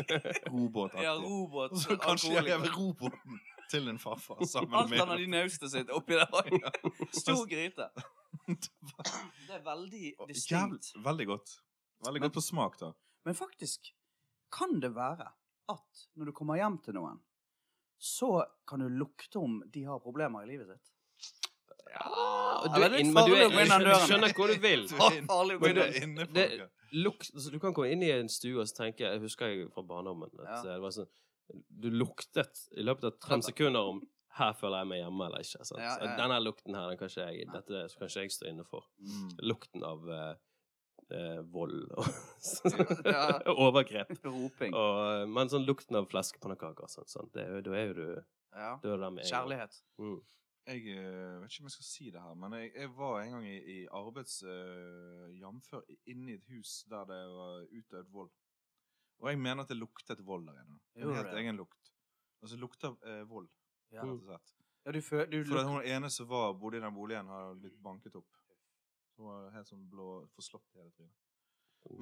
[SPEAKER 1] Robåtaktig.
[SPEAKER 2] Ja, robot.
[SPEAKER 1] Og så kanskje jeg lever robåten til en farfar sammen
[SPEAKER 2] Alt han har
[SPEAKER 1] med
[SPEAKER 2] i naustet sitt oppi der òg. Stor gryte. Det er veldig distinkt.
[SPEAKER 1] Jævlig- Veldig godt. Veldig
[SPEAKER 2] Men-
[SPEAKER 1] godt på smak, da.
[SPEAKER 2] Men faktisk kan det være at når du kommer hjem til noen, så kan du lukte om de har problemer i livet sitt.
[SPEAKER 3] Og
[SPEAKER 2] det
[SPEAKER 3] du
[SPEAKER 2] er
[SPEAKER 3] er
[SPEAKER 2] litt
[SPEAKER 3] inn, men du
[SPEAKER 2] farlig å
[SPEAKER 3] er,
[SPEAKER 2] gå inn den
[SPEAKER 3] jeg
[SPEAKER 2] døren.
[SPEAKER 3] skjønner hvor du vil.
[SPEAKER 1] Du
[SPEAKER 2] Ah,
[SPEAKER 1] er inn-
[SPEAKER 2] farlig å gå
[SPEAKER 1] men du
[SPEAKER 2] inn der.
[SPEAKER 1] er inne på
[SPEAKER 3] det-
[SPEAKER 1] noe.
[SPEAKER 3] Lukt, altså, du kan gå inn i en stue og så tenke Jeg husker jeg fra barndommen at
[SPEAKER 2] Ja.
[SPEAKER 3] eh, det var sånn Du luktet i løpet av fem sekunder om her føler jeg meg hjemme eller ikke. Sant?
[SPEAKER 2] Ja, ja, ja.
[SPEAKER 3] Denne lukten her, den kan ikke jeg, dette kan ikke jeg stå inne for.
[SPEAKER 1] Mm.
[SPEAKER 3] Lukten av eh, eh, vold og
[SPEAKER 2] Ja.
[SPEAKER 3] overgrep.
[SPEAKER 2] Roping.
[SPEAKER 3] Og, eh, men sånn lukten av fleskepannekaker og sånn, sånn, det er jo- da er jo du
[SPEAKER 2] Ja.
[SPEAKER 3] da er du der med en gang.
[SPEAKER 2] Kjærlighet.
[SPEAKER 3] Mm.
[SPEAKER 1] Jeg eh, vet ikke om jeg skal si det her, men jeg, jeg var en gang i, i arbeids... eh, jamfør inne i et hus der det var utøvd vold. Og jeg mener at det luktet vold der inne. En
[SPEAKER 2] Gjorde
[SPEAKER 1] helt
[SPEAKER 2] det?
[SPEAKER 1] egen lukt. Altså lukter eh, vold,
[SPEAKER 2] Ja.
[SPEAKER 3] Mm.
[SPEAKER 1] rett og slett.
[SPEAKER 2] Ja, du fø- du
[SPEAKER 1] For at
[SPEAKER 2] luk-
[SPEAKER 1] hun ene som var, bodde i den boligen, har blitt banket opp. Hun var helt sånn blå, forslått i hele trynet.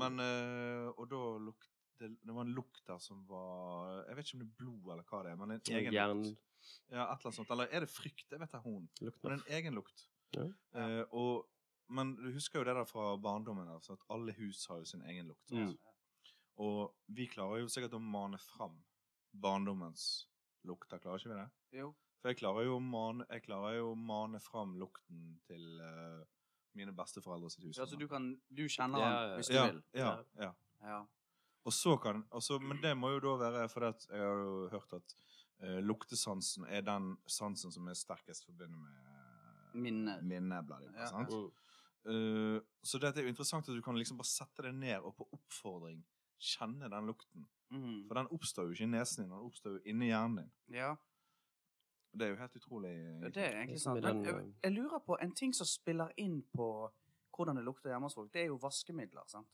[SPEAKER 1] Men, eh, og da lukt, det, det var en lukt der som var Jeg vet ikke om det er blod eller hva det er, men en egen
[SPEAKER 3] Jern,
[SPEAKER 1] lukt. Ja, et eller annet sånt. Eller er det frykt? Jeg vet det er hun.
[SPEAKER 3] lukten
[SPEAKER 1] Men
[SPEAKER 3] av
[SPEAKER 1] en egen lukt.
[SPEAKER 3] Ja.
[SPEAKER 1] Eh, og, men du husker jo det der fra barndommen, altså, at alle hus har jo sin egen lukt. sant?
[SPEAKER 3] Mm.
[SPEAKER 1] Og vi klarer jo sikkert å mane fram barndommens lukter, klarer ikke vi det?
[SPEAKER 2] Jo.
[SPEAKER 1] For jeg klarer jo å mane, jeg klarer jo å mane fram lukten til eh, mine besteforeldre sitt hus.
[SPEAKER 2] Ja, så du, kan, du kjenner
[SPEAKER 3] Ja,
[SPEAKER 2] han
[SPEAKER 3] ja,
[SPEAKER 2] hvis du
[SPEAKER 1] ja,
[SPEAKER 2] vil.
[SPEAKER 1] ja,
[SPEAKER 3] Ja.
[SPEAKER 1] ja.
[SPEAKER 2] Ja.
[SPEAKER 1] Og så kan, og så- men det må jo da være fordi at jeg har jo hørt at eh, luktesansen er den sansen som er sterkest forbundet med eh,
[SPEAKER 2] Minne.
[SPEAKER 1] minne bla, bla, bla,
[SPEAKER 2] Ja.
[SPEAKER 1] sant?
[SPEAKER 3] Mm.
[SPEAKER 1] Eh, så det er jo interessant at du kan liksom bare sette deg ned og på oppfordring kjenne den lukten.
[SPEAKER 2] Mm.
[SPEAKER 1] For den oppstår jo ikke i nesen din, den oppstår jo inni hjernen din.
[SPEAKER 2] Ja.
[SPEAKER 1] Det er jo helt utrolig.
[SPEAKER 2] Ja, Det er egentlig
[SPEAKER 3] Liksom i
[SPEAKER 2] sant. Men
[SPEAKER 3] den,
[SPEAKER 2] jeg, jeg lurer på en ting som spiller inn på hvordan det lukter hjemme hos folk, det er jo vaskemidler, sant?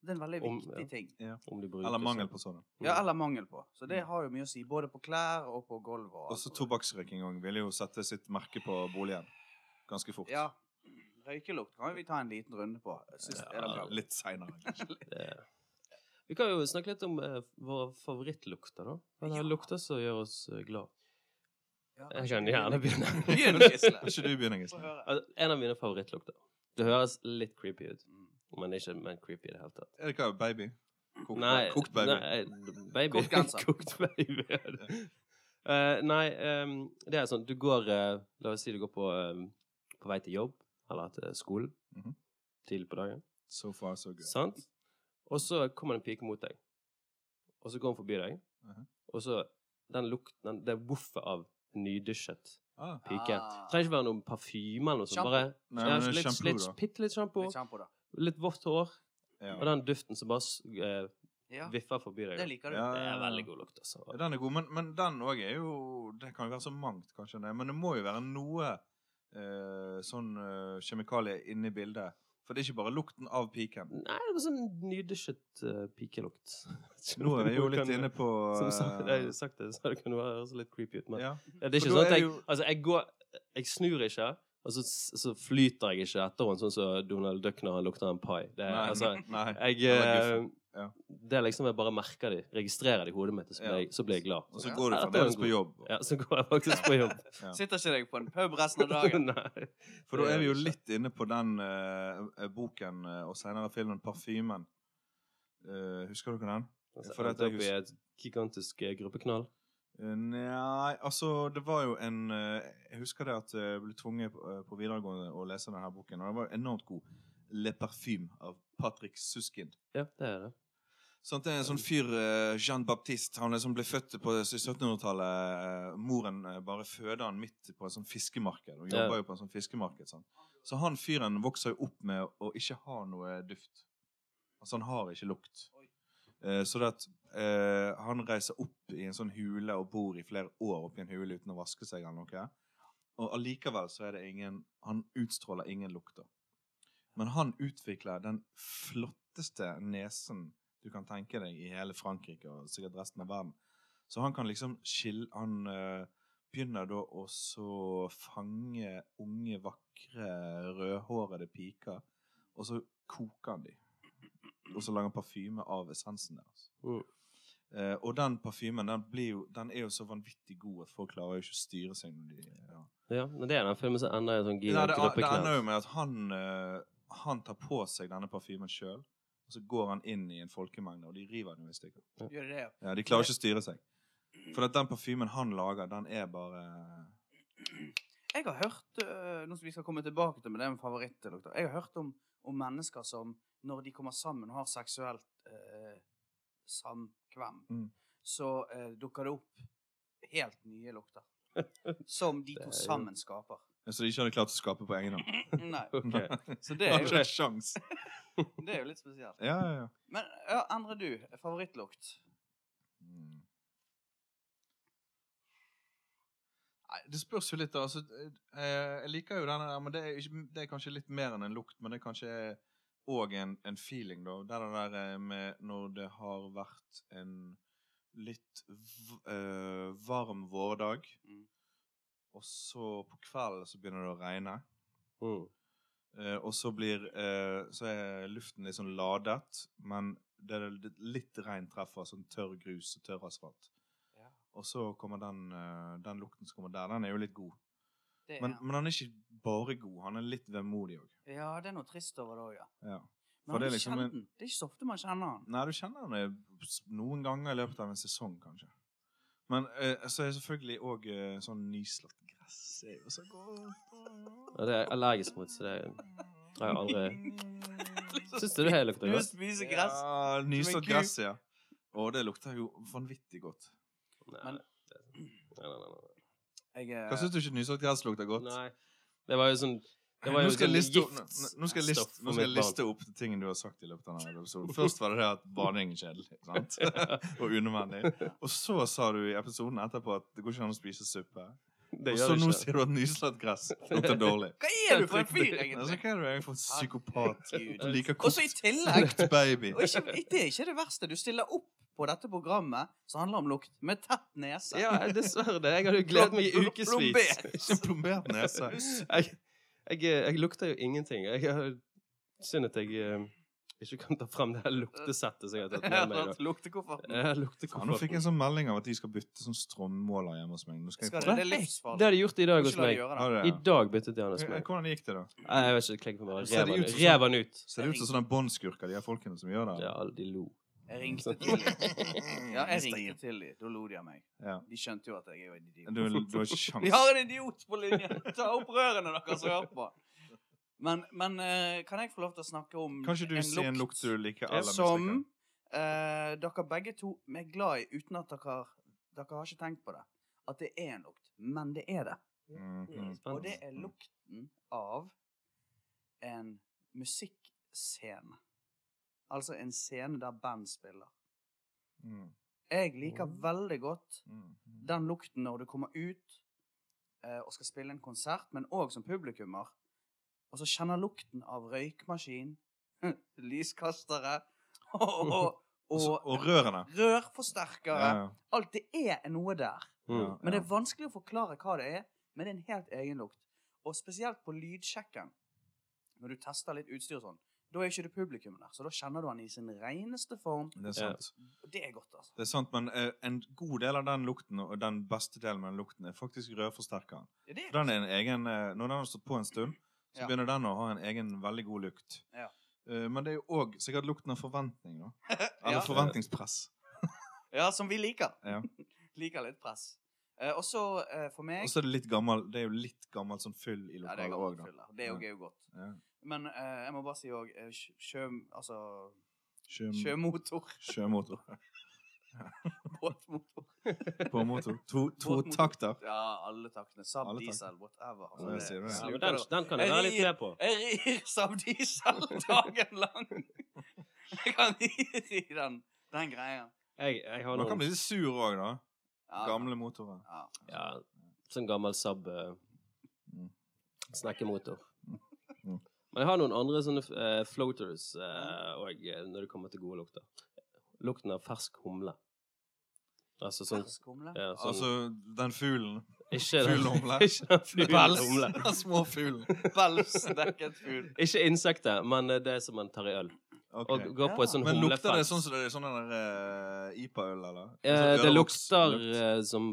[SPEAKER 2] Det er en veldig
[SPEAKER 3] Om-
[SPEAKER 2] viktig
[SPEAKER 3] ja.
[SPEAKER 2] ting.
[SPEAKER 3] Om du bruker
[SPEAKER 1] Eller mangel
[SPEAKER 3] sånn.
[SPEAKER 1] på sånne.
[SPEAKER 2] Ja,
[SPEAKER 3] Mm.
[SPEAKER 2] eller mangel på. Så det
[SPEAKER 1] Mm.
[SPEAKER 2] har jo mye å si, både på klær og på gulv og alt
[SPEAKER 1] Også
[SPEAKER 2] sånt.
[SPEAKER 1] tobakksrøyking òg ville jo sette sitt merke på boligen ganske fort.
[SPEAKER 2] Ja. Røykelukt kan vi ta en liten runde på. Sist,
[SPEAKER 3] Ja,
[SPEAKER 2] er det bra.
[SPEAKER 1] Litt seinere, kanskje.
[SPEAKER 3] Det- Vi kan jo snakke litt om eh, våre favorittlukter, da. Hva
[SPEAKER 2] Ja.
[SPEAKER 3] er lukter som gjør oss eh, glad?
[SPEAKER 2] Ja,
[SPEAKER 3] Jeg kan gjerne begynne.
[SPEAKER 2] Begynn, Gisle.
[SPEAKER 1] Kan ikke du begynne,
[SPEAKER 2] Få
[SPEAKER 1] Gisle?
[SPEAKER 2] høre.
[SPEAKER 3] Altså, En av mine favorittlukter. Det høres litt creepy ut,
[SPEAKER 2] Mm.
[SPEAKER 3] men ikke men creepy i det hele tatt.
[SPEAKER 1] Er det hva? Baby? Kokt,
[SPEAKER 3] Nei,
[SPEAKER 1] kokt baby?
[SPEAKER 3] Nei, eh, baby.
[SPEAKER 2] Kokt genser.
[SPEAKER 3] Kokt baby. Eh, nei, ehm, det er sånn Du går eh, La oss si du går på, ehm, på vei til jobb eller til skolen
[SPEAKER 1] Mhm.
[SPEAKER 3] tidlig på dagen.
[SPEAKER 1] So far, so good.
[SPEAKER 3] Sant? Og så kommer det en pike mot deg. Og så går hun forbi deg.
[SPEAKER 1] Mhm.
[SPEAKER 3] Og så den lukten den, Det voffet av nydusjet
[SPEAKER 1] Ah,
[SPEAKER 3] pike.
[SPEAKER 2] Ah.
[SPEAKER 3] Trenger ikke være noen parfyme eller noe sånt.
[SPEAKER 2] Shampoo.
[SPEAKER 3] Bare
[SPEAKER 1] Nei,
[SPEAKER 3] ja,
[SPEAKER 1] men det er
[SPEAKER 3] litt,
[SPEAKER 1] shampoo,
[SPEAKER 3] litt,
[SPEAKER 1] da.
[SPEAKER 3] bitte litt shampoo,
[SPEAKER 2] Litt shampoo, da.
[SPEAKER 3] litt vått hår, og
[SPEAKER 1] ja.
[SPEAKER 3] den duften som bare s- eh,
[SPEAKER 2] Ja,
[SPEAKER 3] viffer forbi deg.
[SPEAKER 2] det liker du.
[SPEAKER 1] Ja.
[SPEAKER 3] Det er veldig god lukt, altså.
[SPEAKER 1] Den er god, men, men den òg er jo Det kan jo være så mangt, kanskje. Det, men det må jo være noe eh, sånn eh, kjemikalie inne i bildet. For det er ikke bare lukten av piken.
[SPEAKER 3] Nei, det var sånn nydusjet eh, pikelukt.
[SPEAKER 1] Nå er vi jo litt inne på
[SPEAKER 3] Som sagt, jeg har
[SPEAKER 1] eh,
[SPEAKER 3] jo sagt det, så det kunne være også litt creepy ut. Men
[SPEAKER 1] ja.
[SPEAKER 3] Ja, det er
[SPEAKER 1] For
[SPEAKER 3] ikke
[SPEAKER 1] da
[SPEAKER 3] sånn
[SPEAKER 1] er
[SPEAKER 3] at jeg,
[SPEAKER 1] det
[SPEAKER 3] altså, jeg går Jeg snur ikke, og så, så flyter jeg ikke etter henne, sånn som Donald Duck når han lukter en pai. Det, er-
[SPEAKER 1] Nei,
[SPEAKER 3] altså,
[SPEAKER 1] nei.
[SPEAKER 3] jeg
[SPEAKER 1] Eller guffen,
[SPEAKER 3] eh,
[SPEAKER 1] ja.
[SPEAKER 3] Det er liksom jeg bare merker det, registrerer det i hodet mitt, og så blir,
[SPEAKER 1] Ja.
[SPEAKER 3] jeg, så blir jeg glad.
[SPEAKER 1] Og så
[SPEAKER 3] Ja,
[SPEAKER 1] går du
[SPEAKER 3] dette var
[SPEAKER 1] fremdeles
[SPEAKER 3] en
[SPEAKER 1] på
[SPEAKER 3] god-
[SPEAKER 1] jobb.
[SPEAKER 3] Ja, så går jeg faktisk på jobb.
[SPEAKER 1] Ja.
[SPEAKER 2] Sitter ikke deg på en pub resten av dagen.
[SPEAKER 3] Nei.
[SPEAKER 1] For da
[SPEAKER 3] Det
[SPEAKER 1] er vi jo
[SPEAKER 3] gjør vi ikke.
[SPEAKER 1] litt inne på den eh, eh, boken eh, og senere filmen 'Parfymen'. Eh, husker dere den?
[SPEAKER 3] Altså,
[SPEAKER 1] For dette
[SPEAKER 3] endte opp i
[SPEAKER 1] hus-
[SPEAKER 3] et gigantisk eh, gruppeknall.
[SPEAKER 1] Eh, Nei, altså det var jo en eh, Jeg husker det at jeg ble tvunget på, eh, på videregående å lese denne boken, og den var enormt god. 'Le Parfyme' av Patrick Suskind.
[SPEAKER 3] Ja, det er det.
[SPEAKER 1] Sånn, det er en sånn fyr, eh, Jean Baptiste, han liksom ble født på 1700-tallet. eh, Moren eh, bare føder han midt på et sånt fiskemarked, og
[SPEAKER 3] Ja.
[SPEAKER 1] jobber jo på et sånt fiskemarked. Sånn. Så han fyren vokser jo opp med å ikke ha noe duft. Altså, han har ikke lukt. Eh, så det at eh, han reiser opp i en sånn hule og bor i flere år oppi en hule uten å vaske seg eller noe. Og allikevel så er det ingen Han utstråler ingen lukter. Men han utvikler den flotteste nesen du kan tenke deg i hele Frankrike og sikkert resten av verden. Så han kan liksom skille Han eh, begynner da å så fange unge, vakre, rødhårede piker, og så koker han de. Og så lager han parfyme av essensen deres.
[SPEAKER 3] Mm.
[SPEAKER 1] Eh, og den parfymen den, blir jo, den er jo så vanvittig god at folk klarer jo ikke å styre seg. når de... Ja.
[SPEAKER 3] Ja, men det er den filmen som ender i en sånn
[SPEAKER 1] Nei,
[SPEAKER 3] gira
[SPEAKER 1] det, det ender jo
[SPEAKER 3] gruppeknall.
[SPEAKER 1] med at han, eh, han tar på seg denne parfymen sjøl. Og så går han inn i en folkemengde, og de river den jo i stykker.
[SPEAKER 2] Gjør de det, ja?
[SPEAKER 1] Ja, de klarer ikke å styre seg. For at den parfymen han lager, den er bare
[SPEAKER 2] Jeg har hørt øh, Nå som vi skal komme tilbake til med det med favorittlukter Jeg har hørt om, om mennesker som når de kommer sammen og har seksuelt øh, samkvem,
[SPEAKER 1] Mm.
[SPEAKER 2] så øh, dukker det opp helt nye lukter. Som de
[SPEAKER 3] Det er
[SPEAKER 2] to
[SPEAKER 3] jo-
[SPEAKER 2] sammen skaper.
[SPEAKER 1] eh, Så de ikke hadde klart å skape på egen hånd.
[SPEAKER 2] Nei.
[SPEAKER 3] Ok.
[SPEAKER 2] Så det
[SPEAKER 1] De har
[SPEAKER 2] er jo,
[SPEAKER 1] ikke sjans.
[SPEAKER 2] det er jo litt spesielt.
[SPEAKER 1] Ja, ja, ja.
[SPEAKER 2] Men ja, Endre, du. Favorittlukt?
[SPEAKER 1] Mm. Nei, det spørs jo litt, da. Altså, eh, jeg liker jo denne der, men det er, ikke, det er kanskje litt mer enn en lukt. Men det er kanskje òg en, en feeling, da. Det er det der eh, med når det har vært en litt v eh, varm vårdag,
[SPEAKER 2] Mm.
[SPEAKER 1] og så på kvelden så begynner det å regne.
[SPEAKER 3] Mm.
[SPEAKER 1] Eh, og så blir eh, Så er luften litt sånn ladet, men det er litt- litt regn treffer sånn tørr grus og tørr asfalt.
[SPEAKER 2] Ja.
[SPEAKER 1] Og så kommer den, eh, den lukten som kommer der, den er jo litt god.
[SPEAKER 2] Det er,
[SPEAKER 1] Men, men han er ikke bare god, han er litt vemodig òg.
[SPEAKER 2] ja, det er noe trist over det òg, ja.
[SPEAKER 1] Ja.
[SPEAKER 2] Men
[SPEAKER 1] For
[SPEAKER 2] har
[SPEAKER 1] det er
[SPEAKER 2] du
[SPEAKER 1] liksom
[SPEAKER 2] kjent
[SPEAKER 1] en-
[SPEAKER 2] den? Det er ikke så ofte man kjenner den.
[SPEAKER 1] Nei, du kjenner han eh, s- noen ganger i løpet av en sesong, kanskje. Men eh, så er selvfølgelig òg eh, sånn nyslått gress er jo så godt.
[SPEAKER 3] Ja, det er jeg allergisk mot, så det har jeg aldri
[SPEAKER 2] Liksom
[SPEAKER 3] Syns du det her lukter
[SPEAKER 2] Du
[SPEAKER 3] godt?
[SPEAKER 2] spiser gress.
[SPEAKER 1] Ja,
[SPEAKER 2] Som en
[SPEAKER 1] nyslått
[SPEAKER 2] ku.
[SPEAKER 1] gress, ja. Og det lukter jo vanvittig godt.
[SPEAKER 3] Nei.
[SPEAKER 2] Men-
[SPEAKER 3] det- Nei, nei, nei, nei.
[SPEAKER 2] Jeg, eh,
[SPEAKER 1] Hva syns du ikke nyslått gress lukter godt?
[SPEAKER 3] Nei. Det var jo sånn Det var jo
[SPEAKER 1] nå skal, jeg
[SPEAKER 3] sånn
[SPEAKER 1] liste, opp-
[SPEAKER 3] giftstoff
[SPEAKER 1] nå, nå skal jeg liste,
[SPEAKER 3] for
[SPEAKER 1] nå skal jeg
[SPEAKER 3] mitt
[SPEAKER 1] liste
[SPEAKER 3] barn.
[SPEAKER 1] opp de tingene du har sagt i løpet av denne episoden. Først var det det at bading er kjedelig sant? og unødvendig. Og så sa du i episoden etterpå at det går ikke an å spise suppe.
[SPEAKER 3] Det
[SPEAKER 1] Og
[SPEAKER 3] gjør
[SPEAKER 1] så
[SPEAKER 3] det
[SPEAKER 1] nå
[SPEAKER 3] ikke.
[SPEAKER 1] sier du at nyslått gress lukter dårlig.
[SPEAKER 2] Hva er du for en fyr,
[SPEAKER 1] Altså,
[SPEAKER 2] egentlig?
[SPEAKER 1] hva er du egentlig for en psykopat
[SPEAKER 2] Herregud.
[SPEAKER 1] som liker
[SPEAKER 2] Og så i
[SPEAKER 1] kokt,
[SPEAKER 2] tillegg
[SPEAKER 1] kokt baby?
[SPEAKER 2] og ikke, Det er ikke det verste. Du stiller opp på dette programmet som handler om lukt, med tett nese.
[SPEAKER 3] Ja, dessverre. det. Jeg hadde jo gledet meg i
[SPEAKER 2] Blom-
[SPEAKER 3] ukevis.
[SPEAKER 2] Plombert.
[SPEAKER 1] Ikke en plombert nese.
[SPEAKER 3] Jeg, jeg, jeg lukter jo ingenting. Jeg har Synd at jeg eh, ikke kan ta fram det her luktesettet som jeg har tatt med meg. da.
[SPEAKER 2] Luktekofferten.
[SPEAKER 1] Eh,
[SPEAKER 3] Jeg lukter
[SPEAKER 1] Ja, nå fikk jeg en sånn melding av at de skal bytte sånn strømmåler hjemme hos meg. Nå skal jeg
[SPEAKER 2] Skal
[SPEAKER 1] få
[SPEAKER 2] det, det er
[SPEAKER 1] sånn-
[SPEAKER 3] Det
[SPEAKER 2] livsfarlig.
[SPEAKER 3] har de gjort i dag hos
[SPEAKER 2] Ikke la de
[SPEAKER 3] meg.
[SPEAKER 2] gjøre
[SPEAKER 1] Har
[SPEAKER 2] det.
[SPEAKER 1] du
[SPEAKER 3] I
[SPEAKER 1] det, ja?
[SPEAKER 3] dag byttet de den hos meg.
[SPEAKER 1] Hvordan gikk det, da?
[SPEAKER 3] Nei, jeg vet ikke. Klikk på meg.
[SPEAKER 1] Ser
[SPEAKER 3] Rev
[SPEAKER 1] det
[SPEAKER 3] den
[SPEAKER 1] ut
[SPEAKER 3] ut.
[SPEAKER 1] som
[SPEAKER 3] Rev den ut.
[SPEAKER 1] Ser det ut som sånne båndskurker, de her folkene som gjør det? Mm,
[SPEAKER 3] Ja, alle de lo.
[SPEAKER 2] Jeg ringte til dem. Ja, jeg ringte til dem. Da lo de av meg.
[SPEAKER 1] Ja.
[SPEAKER 2] De skjønte jo at jeg er jo en
[SPEAKER 1] Du,
[SPEAKER 2] idiot.
[SPEAKER 1] du har ikke sjans.
[SPEAKER 2] Vi har en idiot på linje! Ta opp rørene dere som hører på. Men, men eh, kan jeg få lov til å snakke om
[SPEAKER 1] Kanskje du sier en lukt du liker aller mest?
[SPEAKER 2] som
[SPEAKER 1] Rikard?
[SPEAKER 2] eh, dere begge to er glad i, uten at dere, dere har ikke tenkt på det, at det er en lukt. Men det er det.
[SPEAKER 1] Mhm.
[SPEAKER 2] Og det er
[SPEAKER 1] Mm.
[SPEAKER 2] lukten av en musikkscene. Altså en scene der band spiller.
[SPEAKER 1] Mm,
[SPEAKER 2] Jeg liker
[SPEAKER 3] Mm.
[SPEAKER 2] veldig godt
[SPEAKER 1] mm, mm.
[SPEAKER 2] den lukten når du kommer ut eh, og skal spille en konsert, men òg som publikummer. Og så kjenner lukten av røykmaskin, lyskastere og, og,
[SPEAKER 1] Og, så-
[SPEAKER 2] og
[SPEAKER 1] og rørene.
[SPEAKER 2] rørforsterkere.
[SPEAKER 1] Ja,
[SPEAKER 2] Alt det er noe der.
[SPEAKER 1] ja, ja.
[SPEAKER 3] Mm.
[SPEAKER 2] Men det er vanskelig å forklare hva det er, men det er en helt egen lukt. Og spesielt på lydsjekken, når du tester litt utstyr og sånn, da er ikke det publikum der, så da kjenner du han i sin reneste form.
[SPEAKER 1] Det er sant.
[SPEAKER 2] Og det er godt, altså.
[SPEAKER 1] Det er sant, Men eh, en god del av den lukten, og den beste delen med den lukten, er faktisk rørforsterkeren.
[SPEAKER 2] Ja, det er
[SPEAKER 1] For den er en egen, eh, Når den har stått på en stund, så
[SPEAKER 2] Ja.
[SPEAKER 1] begynner den å ha en egen veldig god lukt.
[SPEAKER 2] Ja.
[SPEAKER 1] Eh, men det er jo òg sikkert lukten av forventning. da. Eller
[SPEAKER 2] Ja.
[SPEAKER 1] forventningspress.
[SPEAKER 2] Ja, som vi liker.
[SPEAKER 1] Ja.
[SPEAKER 2] liker litt press. Eh, og så eh, for meg
[SPEAKER 1] Og så er det litt gammel, det er jo litt gammelt sånn fyll i
[SPEAKER 2] Ja, det
[SPEAKER 1] lokalet
[SPEAKER 2] er gammel
[SPEAKER 1] òg, da.
[SPEAKER 2] fyll der. Det er jo
[SPEAKER 1] Ja.
[SPEAKER 2] gøy og godt.
[SPEAKER 1] Ja.
[SPEAKER 2] Men eh, jeg må bare si òg eh, sjø- sjø... Altså
[SPEAKER 1] Sjø,
[SPEAKER 2] sjømotor.
[SPEAKER 1] sjømotor.
[SPEAKER 2] Båtmotor.
[SPEAKER 1] Båtmotor. To, to
[SPEAKER 2] Båtmotor.
[SPEAKER 1] takter.
[SPEAKER 2] Ja, alle taktene. Sab
[SPEAKER 1] Alle
[SPEAKER 2] diesel, whatever.
[SPEAKER 1] Ja, det sier du, ja.
[SPEAKER 3] Ja,
[SPEAKER 2] sluker
[SPEAKER 3] men den,
[SPEAKER 2] det.
[SPEAKER 3] den kan jeg være litt med på.
[SPEAKER 2] Jeg rir Sab diesel dagen lang. Jeg kan ri den, den greia.
[SPEAKER 3] Jeg, jeg har
[SPEAKER 1] Man kan
[SPEAKER 3] noen
[SPEAKER 1] bli litt sur òg, da.
[SPEAKER 2] Ja.
[SPEAKER 1] Gamle motorer.
[SPEAKER 2] Ja.
[SPEAKER 3] ja, sånn gammel Saab eh,
[SPEAKER 1] Mm.
[SPEAKER 3] snekkemotor.
[SPEAKER 1] Mm.
[SPEAKER 3] Men jeg har noen andre sånne eh, floaters eh, og, eh, når det kommer til gode lukter. Lukten av fersk humle. Altså sånn,
[SPEAKER 2] Ferskumle?
[SPEAKER 3] ja, sånn
[SPEAKER 1] Altså, den fuglen.
[SPEAKER 3] Ikke den-
[SPEAKER 1] Fugleomle.
[SPEAKER 3] Ikke den fugleomle.
[SPEAKER 1] Den små fuglen.
[SPEAKER 2] Pelsdekket fugl.
[SPEAKER 3] Ikke insekter, men eh, det som man tar i øl.
[SPEAKER 1] Ok.
[SPEAKER 3] Og går på et sånn
[SPEAKER 1] Men lukter det
[SPEAKER 3] humlefelt.
[SPEAKER 1] sånn som det er sånn den der eh, IPA-øl, eller?
[SPEAKER 3] Eh,
[SPEAKER 1] Sånn
[SPEAKER 3] det
[SPEAKER 1] ørevoks-
[SPEAKER 3] lukter
[SPEAKER 1] lukt.
[SPEAKER 3] eh, som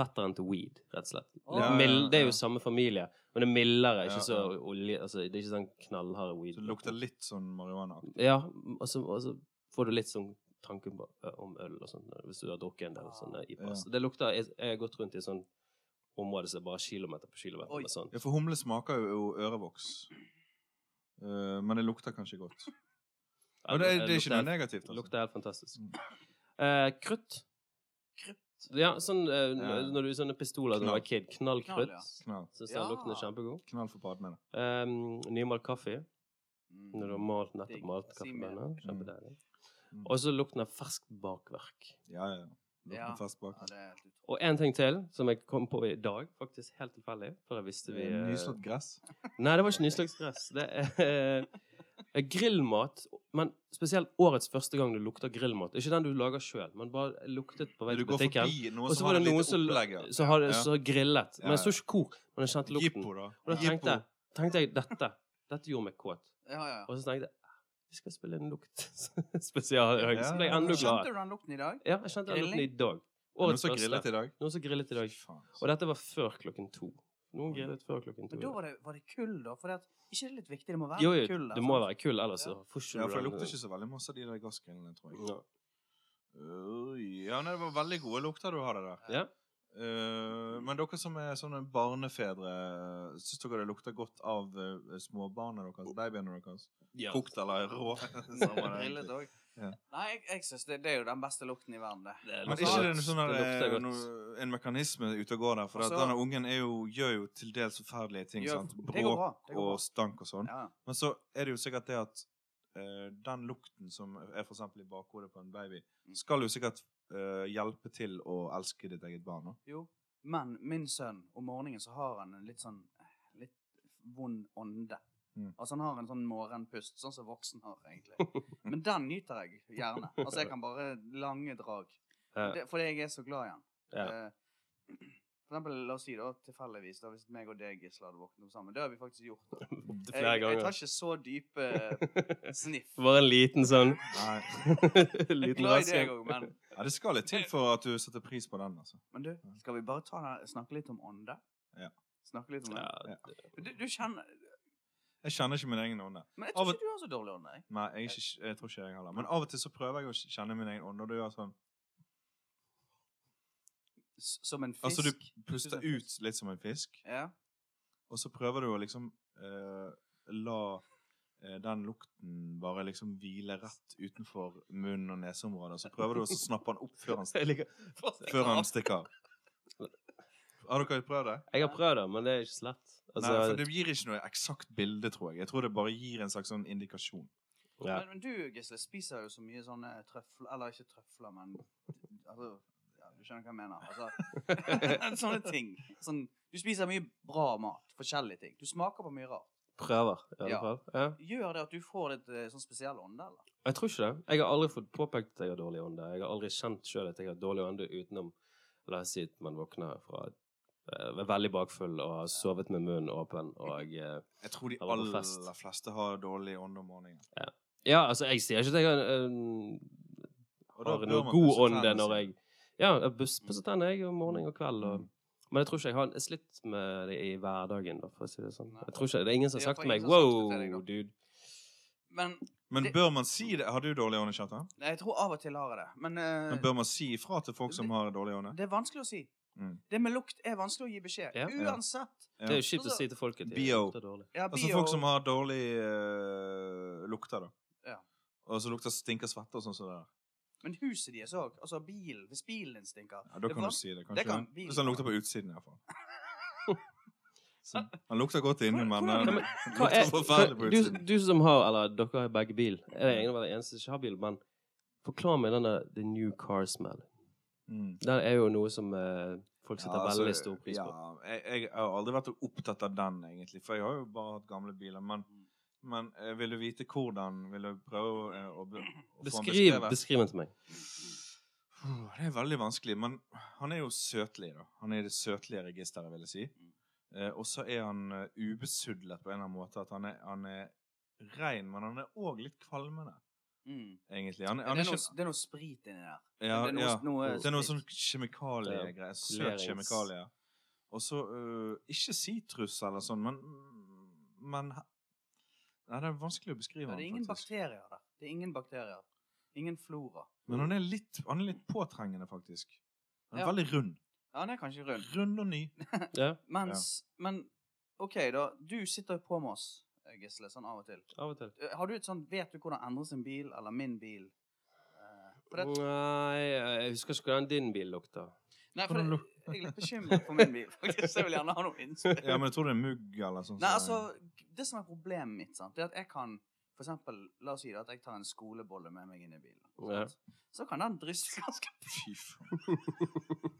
[SPEAKER 3] fetteren til weed, rett og slett. Litt
[SPEAKER 1] Ja, ja,
[SPEAKER 3] mild, det er
[SPEAKER 1] ja.
[SPEAKER 3] jo samme familie, men det er mildere.
[SPEAKER 1] Ja,
[SPEAKER 3] Ikke så olje, altså, det er ikke sånn knallhard weed.
[SPEAKER 1] Så det lukter litt sånn marihuana.
[SPEAKER 3] Ja, og så, og så får du litt sånn tanken på, ø, om øl og sånn, hvis du har drukket en del sånn, sånne IPAs. Det lukter Jeg jeg har gått rundt i sånn område som er bare kilometer på kilometer
[SPEAKER 2] Oi.
[SPEAKER 3] med sånn.
[SPEAKER 1] Ja, for humle smaker jo ørevoks. Eh, men det lukter kanskje godt. Og det, det er ikke noe
[SPEAKER 3] lukter,
[SPEAKER 1] negativt.
[SPEAKER 3] helt-
[SPEAKER 1] Altså.
[SPEAKER 3] lukter helt fantastisk.
[SPEAKER 1] Mm.
[SPEAKER 3] Eh, krutt. Ja, sånn eh,
[SPEAKER 1] Ja.
[SPEAKER 3] når du sånne pistoler da du
[SPEAKER 1] Knall.
[SPEAKER 3] var kid.
[SPEAKER 2] Knall,
[SPEAKER 3] Knallkrutt.
[SPEAKER 2] ja.
[SPEAKER 1] Knall,
[SPEAKER 3] Syns
[SPEAKER 2] Ja.
[SPEAKER 3] den lukten er kjempegod.
[SPEAKER 1] knall for padmene.
[SPEAKER 3] Um, Nymalt kaffe.
[SPEAKER 2] Mm.
[SPEAKER 3] Når du har malt,
[SPEAKER 2] Digg.
[SPEAKER 3] nettopp malt
[SPEAKER 2] Si
[SPEAKER 3] kaffen
[SPEAKER 2] mer.
[SPEAKER 3] din. Kjempedeilig.
[SPEAKER 1] Mm.
[SPEAKER 3] Og så lukten av ferskt bakverk.
[SPEAKER 1] Ja, ja. ja. Lukter
[SPEAKER 2] Ja.
[SPEAKER 1] fast bak.
[SPEAKER 2] Ja, det er helt utrolig.
[SPEAKER 3] Og en ting til som jeg kom på i dag, faktisk helt tilfeldig. For jeg visste vi eh,
[SPEAKER 1] Nyslått gress.
[SPEAKER 3] Nei, det var ikke nyslagsgress. Det er eh, grillmat. Men spesielt årets første gang du lukter grillmat. Ikke den du lager sjøl, men bare luktet på vei
[SPEAKER 1] Du
[SPEAKER 3] til
[SPEAKER 1] går
[SPEAKER 3] butikken.
[SPEAKER 1] forbi noe
[SPEAKER 3] Og så
[SPEAKER 1] som
[SPEAKER 3] var
[SPEAKER 1] har
[SPEAKER 3] det
[SPEAKER 1] et
[SPEAKER 3] noen
[SPEAKER 1] lite
[SPEAKER 3] som,
[SPEAKER 1] opplegg. ja.
[SPEAKER 3] som hadde
[SPEAKER 1] Ja.
[SPEAKER 3] så grillet.
[SPEAKER 1] Ja,
[SPEAKER 3] Men jeg så ikke hvor. Men jeg kjente lukten.
[SPEAKER 1] Jippo, da.
[SPEAKER 3] Og da tenkte jeg,
[SPEAKER 1] Jippo.
[SPEAKER 3] tenkte jeg dette. Dette gjorde meg kåt.
[SPEAKER 2] Ja, ja, ja.
[SPEAKER 3] Og så tenkte jeg "Ah, vi skal spille en lukt spesialøy. Så ble jeg
[SPEAKER 1] Ja,
[SPEAKER 3] enda
[SPEAKER 2] Kjente
[SPEAKER 3] gladere.
[SPEAKER 2] du den lukten i dag?
[SPEAKER 3] Ja, jeg kjente den lukten i
[SPEAKER 2] Grilling?
[SPEAKER 3] dag.
[SPEAKER 1] Noen
[SPEAKER 3] Årets
[SPEAKER 1] som
[SPEAKER 3] første.
[SPEAKER 1] grillet i dag?
[SPEAKER 3] Noen som grillet i dag.
[SPEAKER 1] Fy faen, altså.
[SPEAKER 3] Og dette var før klokken to. Noen grillet før klokken to.
[SPEAKER 2] Men da var det, var det kull, da? For at, ikke det er litt viktig? Det må være
[SPEAKER 3] jo, jo,
[SPEAKER 2] kull. altså.
[SPEAKER 3] det må være kull, ellers
[SPEAKER 2] Ja.
[SPEAKER 3] så får ikke
[SPEAKER 1] Ja, for
[SPEAKER 3] du
[SPEAKER 1] det
[SPEAKER 3] den- eh,
[SPEAKER 1] lukter ikke så veldig masse av de der gassgrillene, tror jeg.
[SPEAKER 3] Ja.
[SPEAKER 1] Øy, Ja, nei, det var veldig gode lukter du hadde der.
[SPEAKER 3] Ja.
[SPEAKER 1] Eh, men dere som er sånne barnefedre, syns dere det lukter godt av eh, småbarna deres? Babyene deres?
[SPEAKER 3] Ja.
[SPEAKER 1] Kokt eller rå? Samme det,
[SPEAKER 2] Grillet
[SPEAKER 1] egentlig.
[SPEAKER 2] òg.
[SPEAKER 1] Ja.
[SPEAKER 2] Nei, jeg, jeg syns det, det er jo den beste lukten i verden, det.
[SPEAKER 3] Det
[SPEAKER 1] men
[SPEAKER 3] lukter
[SPEAKER 1] ikke det
[SPEAKER 3] godt.
[SPEAKER 1] en sånn der,
[SPEAKER 3] Det lukter
[SPEAKER 1] eh,
[SPEAKER 3] godt.
[SPEAKER 1] noe- en mekanisme ute og går der? For
[SPEAKER 2] Altså-
[SPEAKER 1] at denne ungen er jo, gjør jo til dels forferdelige ting.
[SPEAKER 2] Gjør-
[SPEAKER 1] sant?
[SPEAKER 2] det går
[SPEAKER 1] Bråk
[SPEAKER 2] bra. Det går
[SPEAKER 1] og
[SPEAKER 2] bra.
[SPEAKER 1] stank og sånn.
[SPEAKER 2] Ja.
[SPEAKER 1] Men så er det jo sikkert det at eh, den lukten som er for eksempel i bakhodet på en baby,
[SPEAKER 2] Mm.
[SPEAKER 1] skal jo sikkert eh, hjelpe til å elske ditt eget barn. da.
[SPEAKER 2] Jo. Men min sønn, om morgenen så har han en litt sånn litt vond ånde.
[SPEAKER 1] Mm.
[SPEAKER 2] Altså han har en sånn morgenpust, sånn som voksen har, egentlig. Men den nyter jeg gjerne. Altså jeg kan bare lange drag.
[SPEAKER 3] Ja.
[SPEAKER 2] Det, fordi jeg er så glad i han.
[SPEAKER 3] Ja.
[SPEAKER 2] Eh, For eksempel, la oss si da, tilfeldigvis, da, hvis meg og deg, Gisle, hadde våknet opp sammen. Det har vi faktisk gjort.
[SPEAKER 3] Opptil
[SPEAKER 2] Jeg,
[SPEAKER 3] flere
[SPEAKER 2] jeg
[SPEAKER 3] ganger.
[SPEAKER 2] tar ikke så dype sniff.
[SPEAKER 3] Bare en liten sånn
[SPEAKER 1] Nei.
[SPEAKER 3] Liten
[SPEAKER 2] Glad i deg
[SPEAKER 3] raskere.
[SPEAKER 2] òg, men
[SPEAKER 1] Ja, det skal litt til for at du setter pris på den. altså.
[SPEAKER 2] Men du, skal vi bare ta, snakke litt om ånde?
[SPEAKER 1] Ja.
[SPEAKER 2] Snakke litt om det?
[SPEAKER 3] Ja.
[SPEAKER 2] Du, du kjenner
[SPEAKER 1] Jeg kjenner ikke min egen ånde.
[SPEAKER 2] Men jeg
[SPEAKER 1] Av
[SPEAKER 2] tror
[SPEAKER 1] og-
[SPEAKER 2] ikke du har så dårlig ånde. jeg.
[SPEAKER 1] Nei, jeg, er ikke, jeg tror ikke jeg heller. Men av og til så prøver jeg å kjenne min egen ånde, og du gjør sånn
[SPEAKER 2] S- Som en fisk.
[SPEAKER 1] Altså, du puster ut litt som en fisk,
[SPEAKER 2] Ja.
[SPEAKER 1] og så prøver du å liksom eh, la eh, den lukten bare liksom hvile rett utenfor munn- og neseområdet, og så prøver du å snappe den opp før han,
[SPEAKER 3] Jeg liker-
[SPEAKER 1] før han stikker av. Har dere prøvd det?
[SPEAKER 3] Jeg har prøvd det, men det er ikke så lett. Altså,
[SPEAKER 1] Nei, for Det gir ikke noe eksakt bilde, tror jeg. Jeg tror det bare gir en slags sånn indikasjon.
[SPEAKER 3] ja.
[SPEAKER 2] Men, men du, Gisle, spiser jo så mye sånne trøfler Eller ikke trøfler, men altså, ja, Du skjønner hva jeg mener. Altså, sånne ting. Sånn, du spiser mye bra mat. Forskjellige ting. Du smaker på mye rart.
[SPEAKER 3] Prøver. i alle
[SPEAKER 2] Ja.
[SPEAKER 3] fall. Ja.
[SPEAKER 2] Gjør det at du får litt eh, sånn spesiell ånde, eller?
[SPEAKER 3] Jeg tror ikke det. Jeg har aldri fått påpekt at jeg har dårlig ånde. Jeg har aldri kjent sjøl at jeg har dårlig ånde utenom La oss si at man våkner fra eh, veldig bakfull og har sovet med munnen åpen og eh,
[SPEAKER 1] Jeg tror de
[SPEAKER 3] Eller på
[SPEAKER 1] aller
[SPEAKER 3] fest.
[SPEAKER 1] fleste har dårlig ånde om morgenen.
[SPEAKER 3] Ja, altså, jeg sier ikke at jeg har, eh,
[SPEAKER 1] Og da
[SPEAKER 3] har
[SPEAKER 1] bør
[SPEAKER 3] noe
[SPEAKER 1] man
[SPEAKER 3] god
[SPEAKER 1] pusse
[SPEAKER 3] ånde
[SPEAKER 1] tennene
[SPEAKER 3] når
[SPEAKER 1] sine.
[SPEAKER 3] jeg Ja, jeg bus- pusser tenner jeg om morgen og kveld. Og, men jeg tror ikke jeg har slitt med det i hverdagen, da, for å si det sånn.
[SPEAKER 2] Nei.
[SPEAKER 3] Jeg tror ikke, Det er ingen som har
[SPEAKER 2] Ja,
[SPEAKER 3] sagt
[SPEAKER 2] for
[SPEAKER 3] til meg
[SPEAKER 2] ingen som har sagt det til deg,
[SPEAKER 3] Wow,
[SPEAKER 2] da."
[SPEAKER 3] dude.
[SPEAKER 2] Men
[SPEAKER 1] Men
[SPEAKER 2] Det-
[SPEAKER 1] bør man si det? Har du dårlig ånde, Kjartan?
[SPEAKER 2] nei, jeg tror av og til har jeg det. Men, eh,
[SPEAKER 1] Men bør man si ifra til folk som
[SPEAKER 2] det-
[SPEAKER 1] har dårlig ånde?
[SPEAKER 2] det er vanskelig å si.
[SPEAKER 1] Mm.
[SPEAKER 2] Det med lukt er vanskelig å gi beskjed.
[SPEAKER 3] Ja.
[SPEAKER 1] Ja.
[SPEAKER 2] Uansett.
[SPEAKER 1] Ja.
[SPEAKER 3] Det er jo kjipt å
[SPEAKER 2] Altså,
[SPEAKER 3] si til folk at de
[SPEAKER 1] bio.
[SPEAKER 3] lukter dårlig.
[SPEAKER 2] Ja,
[SPEAKER 1] Altså folk som har dårlig eh, lukter, da.
[SPEAKER 2] Ja.
[SPEAKER 1] Og så lukter stinker svette og sånn som det der.
[SPEAKER 2] Men huset deres òg. Altså bilen. Hvis bilen din stinker.
[SPEAKER 1] Ja, da
[SPEAKER 2] Det
[SPEAKER 1] kan
[SPEAKER 2] var-
[SPEAKER 1] du si det.
[SPEAKER 2] det
[SPEAKER 1] Kanskje
[SPEAKER 2] kan
[SPEAKER 1] han-
[SPEAKER 2] vi-
[SPEAKER 1] Hvis han lukter på utsiden, iallfall. Han lukter godt inne,
[SPEAKER 2] Hvordan-
[SPEAKER 1] men eh,
[SPEAKER 2] hvordan-
[SPEAKER 1] han
[SPEAKER 3] men- Hva
[SPEAKER 1] lukter
[SPEAKER 3] er,
[SPEAKER 1] forferdelig på
[SPEAKER 3] du,
[SPEAKER 1] utsiden.
[SPEAKER 3] du som har, eller dere har begge bil Jeg er egentlig bare den eneste som ikke har bil, men forklar meg denne The New Car Smell.
[SPEAKER 1] Mm.
[SPEAKER 3] Den er jo noe som eh, folk setter
[SPEAKER 1] Ja, altså,
[SPEAKER 3] veldig stor pris på.
[SPEAKER 1] Ja, jeg, jeg har aldri vært opptatt av den, egentlig. For jeg har jo bare hatt gamle biler. Men,
[SPEAKER 2] Mm.
[SPEAKER 1] men eh, vil du vite hvordan? Vil du prøve å, eh, å, be- å få den
[SPEAKER 3] Beskriv,
[SPEAKER 1] beskrevet?
[SPEAKER 3] beskriv den til meg.
[SPEAKER 1] Puh, Det er veldig vanskelig, men han er jo søtlig, da. Han er i det søtlige registeret, vil jeg si.
[SPEAKER 2] Mm.
[SPEAKER 1] Eh, og så er han eh, ubesudlet på en eller annen måte. At han er, han er rein, men han er òg litt kvalmende,
[SPEAKER 2] Mm.
[SPEAKER 1] egentlig. Han,
[SPEAKER 2] Det,
[SPEAKER 1] han
[SPEAKER 2] er
[SPEAKER 1] er
[SPEAKER 2] noe,
[SPEAKER 1] ikke
[SPEAKER 2] det er noe sprit inni der.
[SPEAKER 1] ja,
[SPEAKER 2] det er noe-
[SPEAKER 1] ja.
[SPEAKER 2] noe
[SPEAKER 1] Det er noe sånn
[SPEAKER 2] sprit.
[SPEAKER 1] kjemikaliegreier. Søt
[SPEAKER 3] polerings-
[SPEAKER 1] kjemikalie. Og så eh, Ikke sitrus eller sånn, men Men Nei, det er vanskelig å beskrive
[SPEAKER 2] Ja, det er
[SPEAKER 1] han,
[SPEAKER 2] ingen
[SPEAKER 1] faktisk.
[SPEAKER 2] bakterier der. Det er ingen bakterier. Ingen flora.
[SPEAKER 1] Men han er litt, han er litt påtrengende, faktisk. Han er
[SPEAKER 2] Ja.
[SPEAKER 1] veldig rund.
[SPEAKER 2] Ja, han er kanskje rund.
[SPEAKER 1] Rund og ny.
[SPEAKER 3] Ja,
[SPEAKER 2] Mens Men OK, da. Du sitter jo på med oss, Gisle, sånn av og til.
[SPEAKER 3] av og til.
[SPEAKER 2] Har du et sånn Vet du hvordan Endre sin bil, eller min bil Eh, for det,
[SPEAKER 3] Nei, jeg husker ikke hvordan din bil lukta.
[SPEAKER 2] Nei, for
[SPEAKER 1] Hvordan
[SPEAKER 2] det, jeg er litt bekymret for min bil, faktisk. Jeg vil gjerne ha noe innspill.
[SPEAKER 1] Ja, men jeg tror det er mugg eller sånn.
[SPEAKER 2] Nei, altså,
[SPEAKER 1] som
[SPEAKER 2] det som er problemet mitt, sant, det er at jeg kan for eksempel, la oss si det, at jeg tar en skolebolle med meg inn i bilen.
[SPEAKER 1] Oh,
[SPEAKER 3] Ja.
[SPEAKER 2] sant? Så kan den drysse ganske
[SPEAKER 1] er- Fy faen.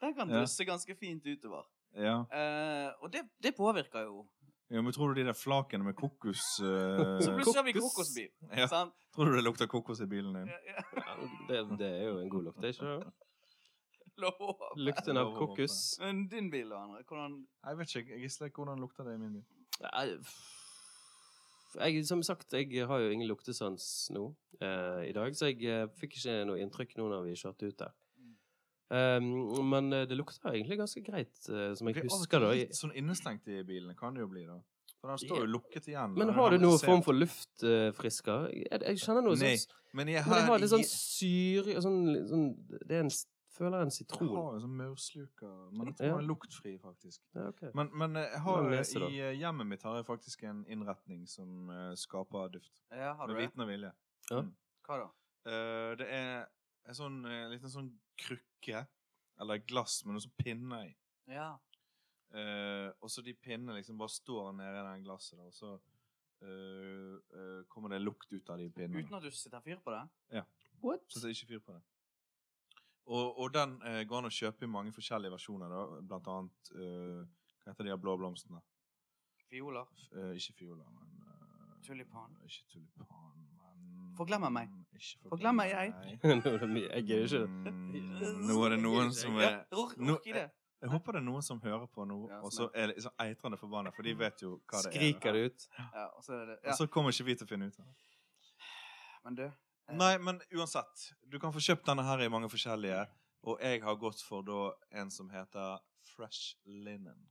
[SPEAKER 2] Den kan
[SPEAKER 1] Ja.
[SPEAKER 2] drysse ganske fint utover.
[SPEAKER 1] Ja.
[SPEAKER 2] Eh, og det, det påvirker jo.
[SPEAKER 1] ja, men tror du de der flakene med kokos
[SPEAKER 2] Så
[SPEAKER 1] eh,
[SPEAKER 2] plutselig har vi
[SPEAKER 3] kokos.
[SPEAKER 2] kokosbil.
[SPEAKER 1] ja.
[SPEAKER 2] Sant?
[SPEAKER 1] Tror du det lukter kokos i bilen din?
[SPEAKER 2] Ja, ja.
[SPEAKER 3] Det, det er jo en god lukt, er ikke det?
[SPEAKER 2] Lov.
[SPEAKER 3] Lukten av kokos.
[SPEAKER 2] Men din bil, da, Endre? Hvordan
[SPEAKER 1] Jeg vet ikke. Jeg gisler ikke hvordan lukter det i min bil.
[SPEAKER 3] Nei, f- Jeg, som sagt, jeg har jo ingen luktesans nå eh, i dag, så jeg eh, fikk ikke noe inntrykk nå når vi kjørte ut der. Um, men eh, det lukta egentlig ganske greit, eh, som
[SPEAKER 1] Det
[SPEAKER 3] jeg
[SPEAKER 1] blir av og
[SPEAKER 3] husker
[SPEAKER 1] til
[SPEAKER 3] da.
[SPEAKER 1] litt sånn innestengt i bilen, kan det jo bli, da. For den står jo lukket igjen.
[SPEAKER 3] Men
[SPEAKER 1] og
[SPEAKER 3] har du noen
[SPEAKER 1] se-
[SPEAKER 3] form for luftfrisker? jeg, jeg kjenner noe
[SPEAKER 1] Nei,
[SPEAKER 3] sånn
[SPEAKER 1] Men jeg
[SPEAKER 3] Men jeg
[SPEAKER 1] har,
[SPEAKER 3] har litt sånn syre sånn, sånn, Det er en s- Føler en
[SPEAKER 1] jeg
[SPEAKER 3] sitron.
[SPEAKER 1] har jo sånn maursluker, men jeg tror
[SPEAKER 3] Ja.
[SPEAKER 1] den er luktfri, faktisk.
[SPEAKER 3] Ja, ok.
[SPEAKER 1] Men, men eh, jeg har,
[SPEAKER 3] Lang nese, da.
[SPEAKER 1] i eh, hjemmet mitt har jeg faktisk en innretning som eh, skaper duft.
[SPEAKER 2] Ja, har du
[SPEAKER 1] Med
[SPEAKER 2] det?
[SPEAKER 1] viten og vilje. Mm.
[SPEAKER 2] Hva da?
[SPEAKER 1] Eh, det er en sånn eh, liten sånn krukke, eller glass med noen sånn pinner i.
[SPEAKER 2] Ja.
[SPEAKER 1] Eh, og så de pinnene liksom bare står nede i den glasset, da, og så eh, eh, kommer det lukt ut av de pinnene.
[SPEAKER 2] Uten at du setter fyr på det?
[SPEAKER 3] What?
[SPEAKER 1] Så det er ikke fyr på det. Og, og den eh, går an å kjøpe i mange forskjellige versjoner, da. blant annet eh, Hva heter de her blå blomstene?
[SPEAKER 2] Fioler?
[SPEAKER 1] F- eh, ikke fioler, men eh,
[SPEAKER 2] Tulipan.
[SPEAKER 1] Ikke tulipan, men
[SPEAKER 2] Forglemmer meg.
[SPEAKER 1] Ikke
[SPEAKER 2] Forglemmer jeg.
[SPEAKER 1] meg.
[SPEAKER 3] Nå er det mye- jeg er jo ikke det.
[SPEAKER 1] Mm, Nå er det noen som
[SPEAKER 2] ja,
[SPEAKER 1] er
[SPEAKER 2] ror-
[SPEAKER 1] Nå-
[SPEAKER 2] orker jeg det.
[SPEAKER 1] Jeg håper det er noen som hører på nå,
[SPEAKER 2] Ja,
[SPEAKER 1] og så
[SPEAKER 2] som
[SPEAKER 1] er det så eitrende forbanna, for de vet jo hva det
[SPEAKER 3] Skriker
[SPEAKER 1] er.
[SPEAKER 3] det ut?
[SPEAKER 2] Ja, og så er det,
[SPEAKER 1] Og
[SPEAKER 2] ja.
[SPEAKER 1] så kommer ikke vi til å finne ut av det.
[SPEAKER 2] Men du eh,
[SPEAKER 1] Nei, men uansett. Du kan få kjøpt denne her i mange forskjellige, og jeg har gått for da en som heter Fresh Linen.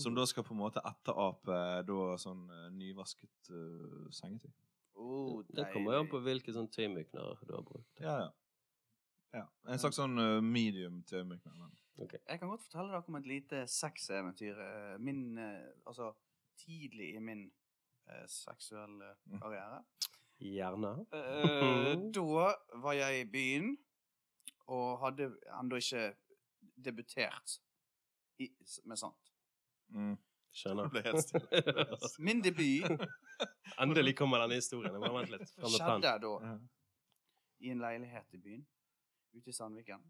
[SPEAKER 1] Som da skal på en måte etterape da sånn eh, nyvasket eh, sengetøy.
[SPEAKER 2] oh,
[SPEAKER 3] Det kommer jo an
[SPEAKER 2] deilig.
[SPEAKER 3] på hvilken sånn tøymykner du har brukt.
[SPEAKER 1] Ja, ja. ja. En slags sånn eh, medium til mykner.
[SPEAKER 2] Jeg kan godt fortelle dere om et lite sexeventyr. eh, Min eh, Altså, tidlig i min eh, seksuelle
[SPEAKER 1] Mm.
[SPEAKER 2] karriere.
[SPEAKER 3] Gjerne.
[SPEAKER 2] Eh, da var jeg i byen og hadde ennå ikke debutert i, med sånt.
[SPEAKER 1] Mm. Det
[SPEAKER 3] Skjønner.
[SPEAKER 1] ble helt stille. Det ble helt stille.
[SPEAKER 2] Min debut
[SPEAKER 3] Endelig kommer denne historien. Jeg må vente litt. Frem med
[SPEAKER 2] skjedde
[SPEAKER 3] penn.
[SPEAKER 2] da
[SPEAKER 1] Ja.
[SPEAKER 2] i en leilighet i byen, ute i Sandviken.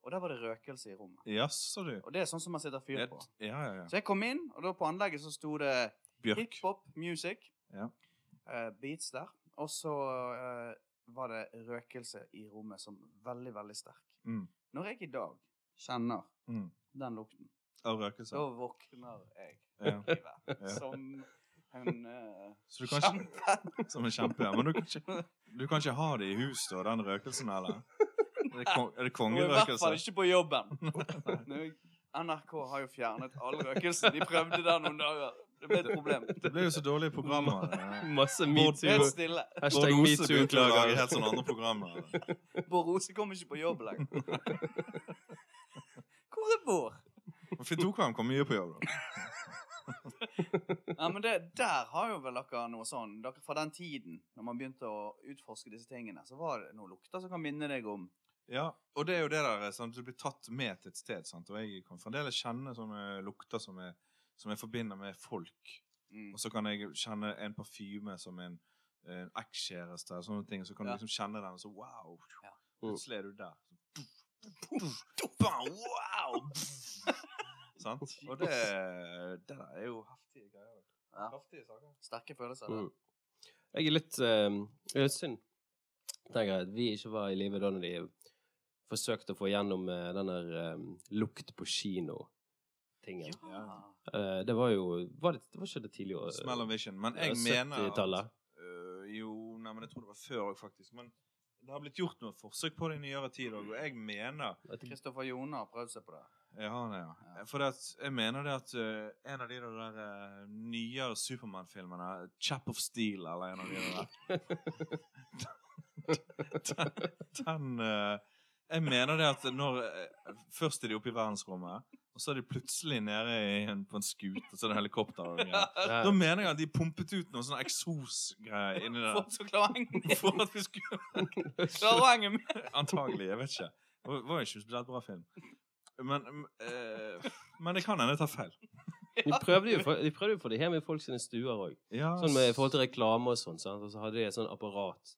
[SPEAKER 2] Og der var det røkelse i rommet.
[SPEAKER 1] Jaså, du.
[SPEAKER 2] Og det er sånn som man setter fyr
[SPEAKER 1] Ja,
[SPEAKER 2] på.
[SPEAKER 1] ja, ja.
[SPEAKER 2] Så jeg kom inn, og da på anlegget så sto det
[SPEAKER 1] Bjørk.
[SPEAKER 2] hiphop music.
[SPEAKER 1] Ja.
[SPEAKER 2] eh, beats der. Og så eh, var det røkelse i rommet som veldig, veldig sterk.
[SPEAKER 1] Mm.
[SPEAKER 2] Når jeg i dag kjenner
[SPEAKER 1] Mm.
[SPEAKER 2] den lukten,
[SPEAKER 1] Av røkelse.
[SPEAKER 2] da våkner jeg
[SPEAKER 1] Ja.
[SPEAKER 2] i verden
[SPEAKER 1] Ja.
[SPEAKER 2] som en eh,
[SPEAKER 1] Så du kan ikke- Som en kjempe, ja. Men du kan, ikke, du kan ikke ha det i hus, da, den røkelsen, eller? Er det, kong, er det
[SPEAKER 2] Og i hvert fall
[SPEAKER 1] kongerøkelse?
[SPEAKER 2] ikke på jobben. Nå, NRK har jo fjernet all røkelsen. De prøvde der noen dager. Det ble et problem.
[SPEAKER 1] Det ble jo så dårlige programmer. det.
[SPEAKER 3] Masse
[SPEAKER 2] Helt
[SPEAKER 3] metoo.
[SPEAKER 2] stille.
[SPEAKER 1] Bård
[SPEAKER 3] Hashtag
[SPEAKER 1] Ose begynte å lage
[SPEAKER 3] metoo-klager.
[SPEAKER 1] helt sånne andre programmer. eller?
[SPEAKER 2] Bård Rose kom ikke på jobb lenger. Hvor er Bård?
[SPEAKER 1] Men Finn Tokvam kom mye på jobb, da.
[SPEAKER 2] Ja, men det, der har jo vel dere noe sånn dere, Fra den tiden, når man begynte å utforske disse tingene, så var det noen lukter som kan minne deg om
[SPEAKER 1] Ja, og det er jo det der eh, sant? Du blir tatt med til et sted, sant? og jeg kan fremdeles kjenne sånne lukter som jeg, som jeg forbinder med folk.
[SPEAKER 2] mm.
[SPEAKER 1] Og så kan jeg kjenne en parfyme som en, eh, en ekskjæreste, og sånne ting. Så kan
[SPEAKER 2] Ja.
[SPEAKER 1] du liksom kjenne den, og så wow!
[SPEAKER 2] Ja.
[SPEAKER 3] Mm,
[SPEAKER 1] Plutselig er du der. Så Mm. Puff, puff, bam, wow! Sant? Og det, det der er jo heftige greier.
[SPEAKER 2] Ja.
[SPEAKER 1] Heftige saker. Mm.
[SPEAKER 2] sterke følelser.
[SPEAKER 3] Mm. Jeg er litt eh, jeg er litt synd tenker jeg at vi ikke var i live da når de forsøkte å få gjennom eh, den der eh, lukt på kino-tingen.
[SPEAKER 1] Ja.
[SPEAKER 3] Eh, det var jo var det, det var ikke det tidlige år-
[SPEAKER 1] Smell of Vision. Men
[SPEAKER 3] eh,
[SPEAKER 1] jeg mener at
[SPEAKER 3] 70-tallet.
[SPEAKER 1] Øh, jo, nei, men jeg tror det var før òg, faktisk. Men det har blitt gjort noen forsøk på det i nyere tid òg, og jeg mener
[SPEAKER 3] At-
[SPEAKER 2] Kristoffer Jone har prøvd seg på det.
[SPEAKER 1] Ja, nei, ja. For det at, jeg mener det at øh, en av de der øh, nyere Supermann-filmene, 'Chap of Steel', eller en av de der Den, den øh, Jeg mener det at når øh, Først er de oppe i verdensrommet, og så er de plutselig nede i en, på en skute, og så er det helikopter og greier.
[SPEAKER 3] Ja.
[SPEAKER 1] Da mener jeg at de pumpet ut noen sånne eksosgreier inni der.
[SPEAKER 2] For at så klarer han
[SPEAKER 1] For at vi skulle
[SPEAKER 2] klarer han med.
[SPEAKER 1] Antagelig. Jeg vet ikke. Det var- var jo ikke en spesielt bra film. Men, mm, eh, men det kan hende jeg tar feil.
[SPEAKER 3] De prøvde jo for- de prøvde jo å få det hjem i folk sine stuer òg.
[SPEAKER 1] Ja,
[SPEAKER 3] Sånn med i forhold til reklame og sånn, sant? og så hadde de et sånt apparat.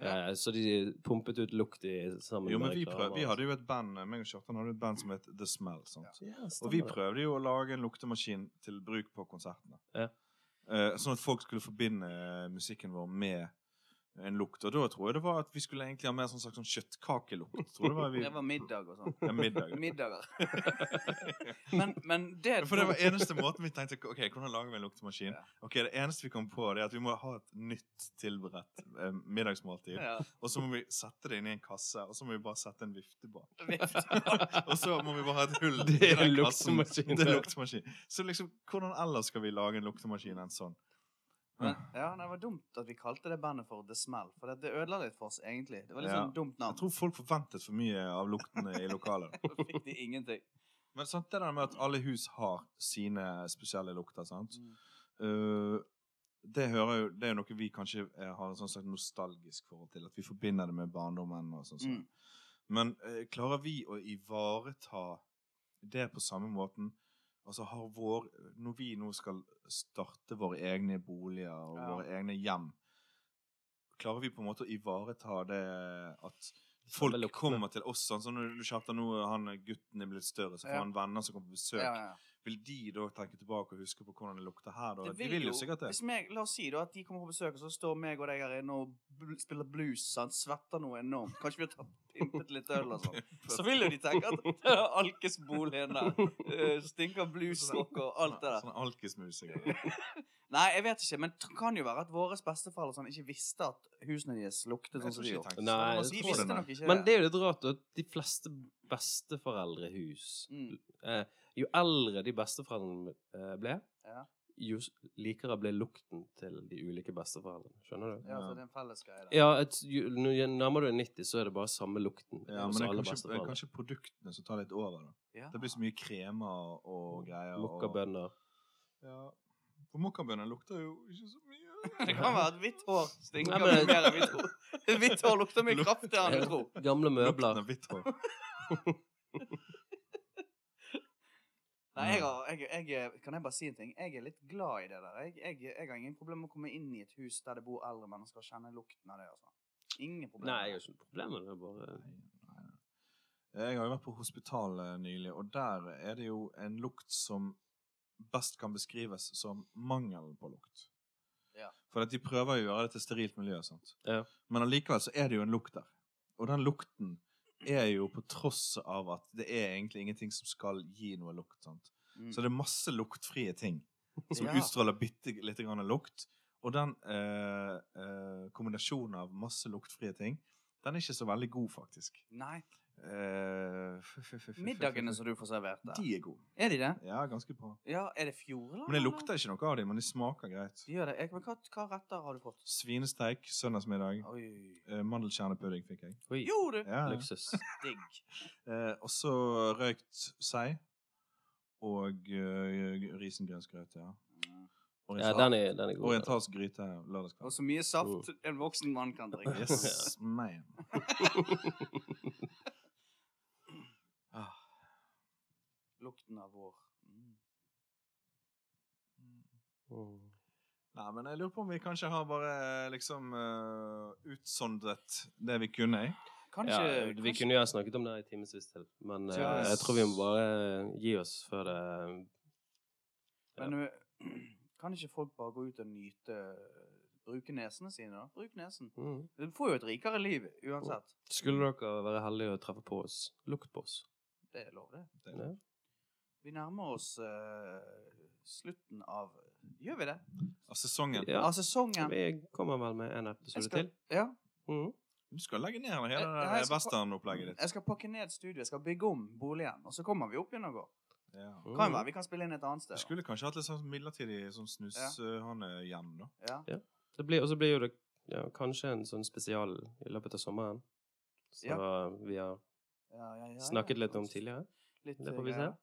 [SPEAKER 2] Ja.
[SPEAKER 3] Eh, så de pumpet ut lukt i sammen
[SPEAKER 1] jo, men
[SPEAKER 3] med
[SPEAKER 1] vi,
[SPEAKER 3] reklame.
[SPEAKER 1] prøv, vi hadde jo et band eh, meg og Kjartan hadde et band som het The Smell. Sant?
[SPEAKER 3] sånn. ja,
[SPEAKER 1] Og vi prøvde jo å lage en luktemaskin til bruk på konsertene.
[SPEAKER 3] Ja.
[SPEAKER 1] Eh, sånn at folk skulle forbinde eh, musikken vår med en lukt. Og da tror jeg det var at vi skulle egentlig ha mer sånn slags sånn kjøttkakelukt. Tror det var vi,
[SPEAKER 2] Det var middag og sånn.
[SPEAKER 1] ja, middag.
[SPEAKER 2] Middager. Men, men det
[SPEAKER 1] For det var eneste måten vi tenkte Ok, hvordan lager vi en luktemaskin?
[SPEAKER 2] Ja.
[SPEAKER 1] Ok, Det eneste vi kom på, det er at vi må ha et nytt tilberedt eh, middagsmåltid.
[SPEAKER 2] Ja.
[SPEAKER 1] Og så må vi sette det inn i en kasse, og så må vi bare sette en vifte bak.
[SPEAKER 2] Vift.
[SPEAKER 1] Og så må vi bare ha et hull i
[SPEAKER 3] Det er
[SPEAKER 1] den
[SPEAKER 3] en
[SPEAKER 1] kassen.
[SPEAKER 3] luktemaskin.
[SPEAKER 1] Det er en luktemaskin. Så liksom, hvordan ellers skal vi lage en luktemaskin enn sånn?
[SPEAKER 2] Men, ja, nei, det var dumt at vi kalte det bandet for The Smell. For det, det ødela litt for oss, egentlig. Det var litt
[SPEAKER 1] Ja.
[SPEAKER 2] sånn dumt
[SPEAKER 1] Jeg
[SPEAKER 2] navn.
[SPEAKER 1] tror folk forventet for mye av luktene i lokalet.
[SPEAKER 2] Så fikk de ingenting.
[SPEAKER 1] Men sant, det der med at alle hus har sine spesielle lukter, sant?
[SPEAKER 2] Mm.
[SPEAKER 1] Eh, det, hører jo, det er jo noe vi kanskje eh, har en sånn slags nostalgisk forhold til. At vi forbinder det med barndommen. og sånn. sånn.
[SPEAKER 2] Mm.
[SPEAKER 1] Men eh, klarer vi å ivareta det på samme måten? Altså har vår, Når vi nå skal starte våre egne boliger og
[SPEAKER 2] Ja.
[SPEAKER 1] våre egne hjem, klarer vi på en måte å ivareta det at folk
[SPEAKER 3] luktene.
[SPEAKER 1] kommer til oss? Sånn som når du chatter nå, han gutten er blitt større, så får
[SPEAKER 2] Ja.
[SPEAKER 1] han venner som kommer på
[SPEAKER 2] Ja,
[SPEAKER 1] besøk.
[SPEAKER 2] ja, ja.
[SPEAKER 1] Vil de da tenke tilbake og huske på hvordan det lukter her? Da?
[SPEAKER 2] Det
[SPEAKER 1] de vil jo sikkert det.
[SPEAKER 2] Hvis meg, la oss si da at de kommer på besøk, og så står meg og deg her inne og bl spiller blues, sant? svetter noe enormt. Kanskje vi har tatt pimpet litt øl og sånn. Så vil jo de tenke at det er alkesboligen der. eh, stinker bluesrock og alt det der.
[SPEAKER 1] Sånn alkismusikere.
[SPEAKER 2] Nei, jeg vet ikke, men det kan jo være at våre besteforeldre sånn, ikke visste at husene deres luktet sånn som de gjorde.
[SPEAKER 1] jeg
[SPEAKER 3] Nei, jeg
[SPEAKER 2] De
[SPEAKER 1] tror
[SPEAKER 2] visste
[SPEAKER 1] det,
[SPEAKER 2] nok
[SPEAKER 1] nei.
[SPEAKER 2] ikke
[SPEAKER 3] Men det er jo litt rart at de fleste besteforeldrehus
[SPEAKER 2] Mm.
[SPEAKER 3] eh, Jo eldre de besteforeldrene eh, ble,
[SPEAKER 2] Ja.
[SPEAKER 3] jo s- likere ble lukten til de ulike besteforeldrene. Skjønner du?
[SPEAKER 2] Ja, så det er en felles greie. da.
[SPEAKER 3] Ja, et, jo, når jo nærmere du er 90, så er det bare samme lukten
[SPEAKER 1] Ja,
[SPEAKER 3] hos
[SPEAKER 1] men det er
[SPEAKER 3] alle
[SPEAKER 1] kanskje, det er
[SPEAKER 3] besteforeldre.
[SPEAKER 1] kanskje produktene som tar litt over. da.
[SPEAKER 2] Ja. Mm.
[SPEAKER 1] Det blir så mye kremer og greier. og-
[SPEAKER 3] Mokkabønner.
[SPEAKER 1] Ja. For mokkabønner lukter jo ikke så mye.
[SPEAKER 2] Det kan være at hvitt hår stinker
[SPEAKER 3] Nei, men-
[SPEAKER 2] mye mer enn hvitt hår. Hvitt hår lukter mye
[SPEAKER 1] Luk-
[SPEAKER 2] kraftigere enn du tror.
[SPEAKER 3] Gamle
[SPEAKER 1] Lukten
[SPEAKER 3] møbler.
[SPEAKER 1] av hvitt hår.
[SPEAKER 2] Nei, jeg har, jeg, jeg, kan jeg bare si en ting? Jeg er litt glad i det der. Jeg, jeg, jeg har ingen problemer med å komme inn i et hus der det bor eldre mennesker og kjenne lukten av det. Altså. Ingen
[SPEAKER 3] Nei, jeg
[SPEAKER 2] problemer.
[SPEAKER 3] har ikke noe problem med det. Bare
[SPEAKER 1] Eh, Jeg har jo vært på hospitalet nylig, og der er det jo en lukt som best kan beskrives som mangelen på lukt.
[SPEAKER 2] Ja.
[SPEAKER 1] For at de prøver jo å gjøre det til sterilt miljø, sant?
[SPEAKER 3] Ja.
[SPEAKER 1] men allikevel så er det jo en lukt der. Og den lukten er jo på tross av at det er egentlig ingenting som skal gi noe lukt. sant?
[SPEAKER 2] Mm.
[SPEAKER 1] Så det er masse luktfrie ting som
[SPEAKER 2] Ja.
[SPEAKER 1] utstråler bitte lite grann lukt. Og den eh, eh, kombinasjonen av masse luktfrie ting, den er ikke så veldig god, faktisk.
[SPEAKER 2] Nei.
[SPEAKER 1] Eh, f- f- f- f-
[SPEAKER 2] Middagene
[SPEAKER 1] f-
[SPEAKER 2] som du får servert der.
[SPEAKER 1] De er gode.
[SPEAKER 2] Er de det?
[SPEAKER 1] Ja, ganske bra.
[SPEAKER 2] Ja, er det fjordland?
[SPEAKER 1] Men det
[SPEAKER 2] eller?
[SPEAKER 1] lukter ikke noe av dem, men de smaker greit.
[SPEAKER 2] De gjør det. Jeg, men hva, hva retter har du fått?
[SPEAKER 1] Svinesteik søndagsmiddag.
[SPEAKER 2] Oi.
[SPEAKER 1] Eh, Mandelkjernepudding fikk jeg.
[SPEAKER 3] Oi,
[SPEAKER 2] Jo, du!
[SPEAKER 1] Ja.
[SPEAKER 3] luksus.
[SPEAKER 2] Digg.
[SPEAKER 1] Eh, og så røykt sei og eh, risengrønsgrøt, ja.
[SPEAKER 2] Mm.
[SPEAKER 3] Ja, den er, den er god.
[SPEAKER 1] Orientalsk gryte lørdagskveld.
[SPEAKER 2] Og så mye saft en voksen mann kan
[SPEAKER 1] Oh.
[SPEAKER 2] drikke.
[SPEAKER 1] Yes, man. ah.
[SPEAKER 2] Lukten av vår. Mm.
[SPEAKER 3] Mm.
[SPEAKER 1] Nei, men jeg lurer på om vi kanskje har bare liksom eh, utsondret det vi kunne. jeg.
[SPEAKER 2] Kanskje,
[SPEAKER 3] Ja, vi
[SPEAKER 2] kanskje-
[SPEAKER 3] kunne jo ha snakket om det i timevis til, men eh,
[SPEAKER 1] Ja.
[SPEAKER 3] jeg tror vi må bare eh, gi oss før det eh,
[SPEAKER 2] eh, Men øh, kan ikke folk bare gå ut og nyte bruke nesene sine, da. Bruk nesen.
[SPEAKER 3] Mm.
[SPEAKER 2] Du får jo et rikere liv uansett.
[SPEAKER 3] Skulle dere være heldige og treffe på oss, lukt på oss.
[SPEAKER 2] Det er lov, det.
[SPEAKER 1] Det-
[SPEAKER 3] Ja.
[SPEAKER 2] Vi nærmer oss eh, slutten av eh, Gjør vi det?
[SPEAKER 1] Av sesongen.
[SPEAKER 3] Ja.
[SPEAKER 2] Av sesongen.
[SPEAKER 3] Vi kommer vel med en episode
[SPEAKER 2] Jeg skal-
[SPEAKER 3] til.
[SPEAKER 2] Ja.
[SPEAKER 3] Mm.
[SPEAKER 1] Du skal legge ned hele
[SPEAKER 2] Jeg-
[SPEAKER 1] det
[SPEAKER 2] jeg
[SPEAKER 1] der
[SPEAKER 2] Eh, skal-
[SPEAKER 1] westernopplegget ditt.
[SPEAKER 2] Jeg skal pakke ned studioet, jeg skal bygge om boligen, og så kommer vi opp igjen og går.
[SPEAKER 1] Ja.
[SPEAKER 2] Mm. Kan være vi kan spille inn et
[SPEAKER 1] Jeg
[SPEAKER 2] annet sted. da.
[SPEAKER 1] skulle kanskje hatt litt sånn midlertidig sånn snushanehjem, da.
[SPEAKER 2] Ja.
[SPEAKER 3] Det blir, og så blir jo det ja, kanskje en sånn spesial i løpet av sommeren. Så vi har
[SPEAKER 2] Ja, ja, ja, ja.
[SPEAKER 3] snakket litt om tidligere.
[SPEAKER 2] Litt,
[SPEAKER 3] Det får vi
[SPEAKER 2] eh,
[SPEAKER 3] se.
[SPEAKER 2] greier.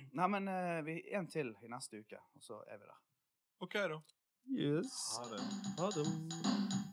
[SPEAKER 2] Nei, men eh, vi en til i neste uke, og så er vi der.
[SPEAKER 1] OK, da.
[SPEAKER 3] Yes.
[SPEAKER 1] Ha det.
[SPEAKER 3] Ha det.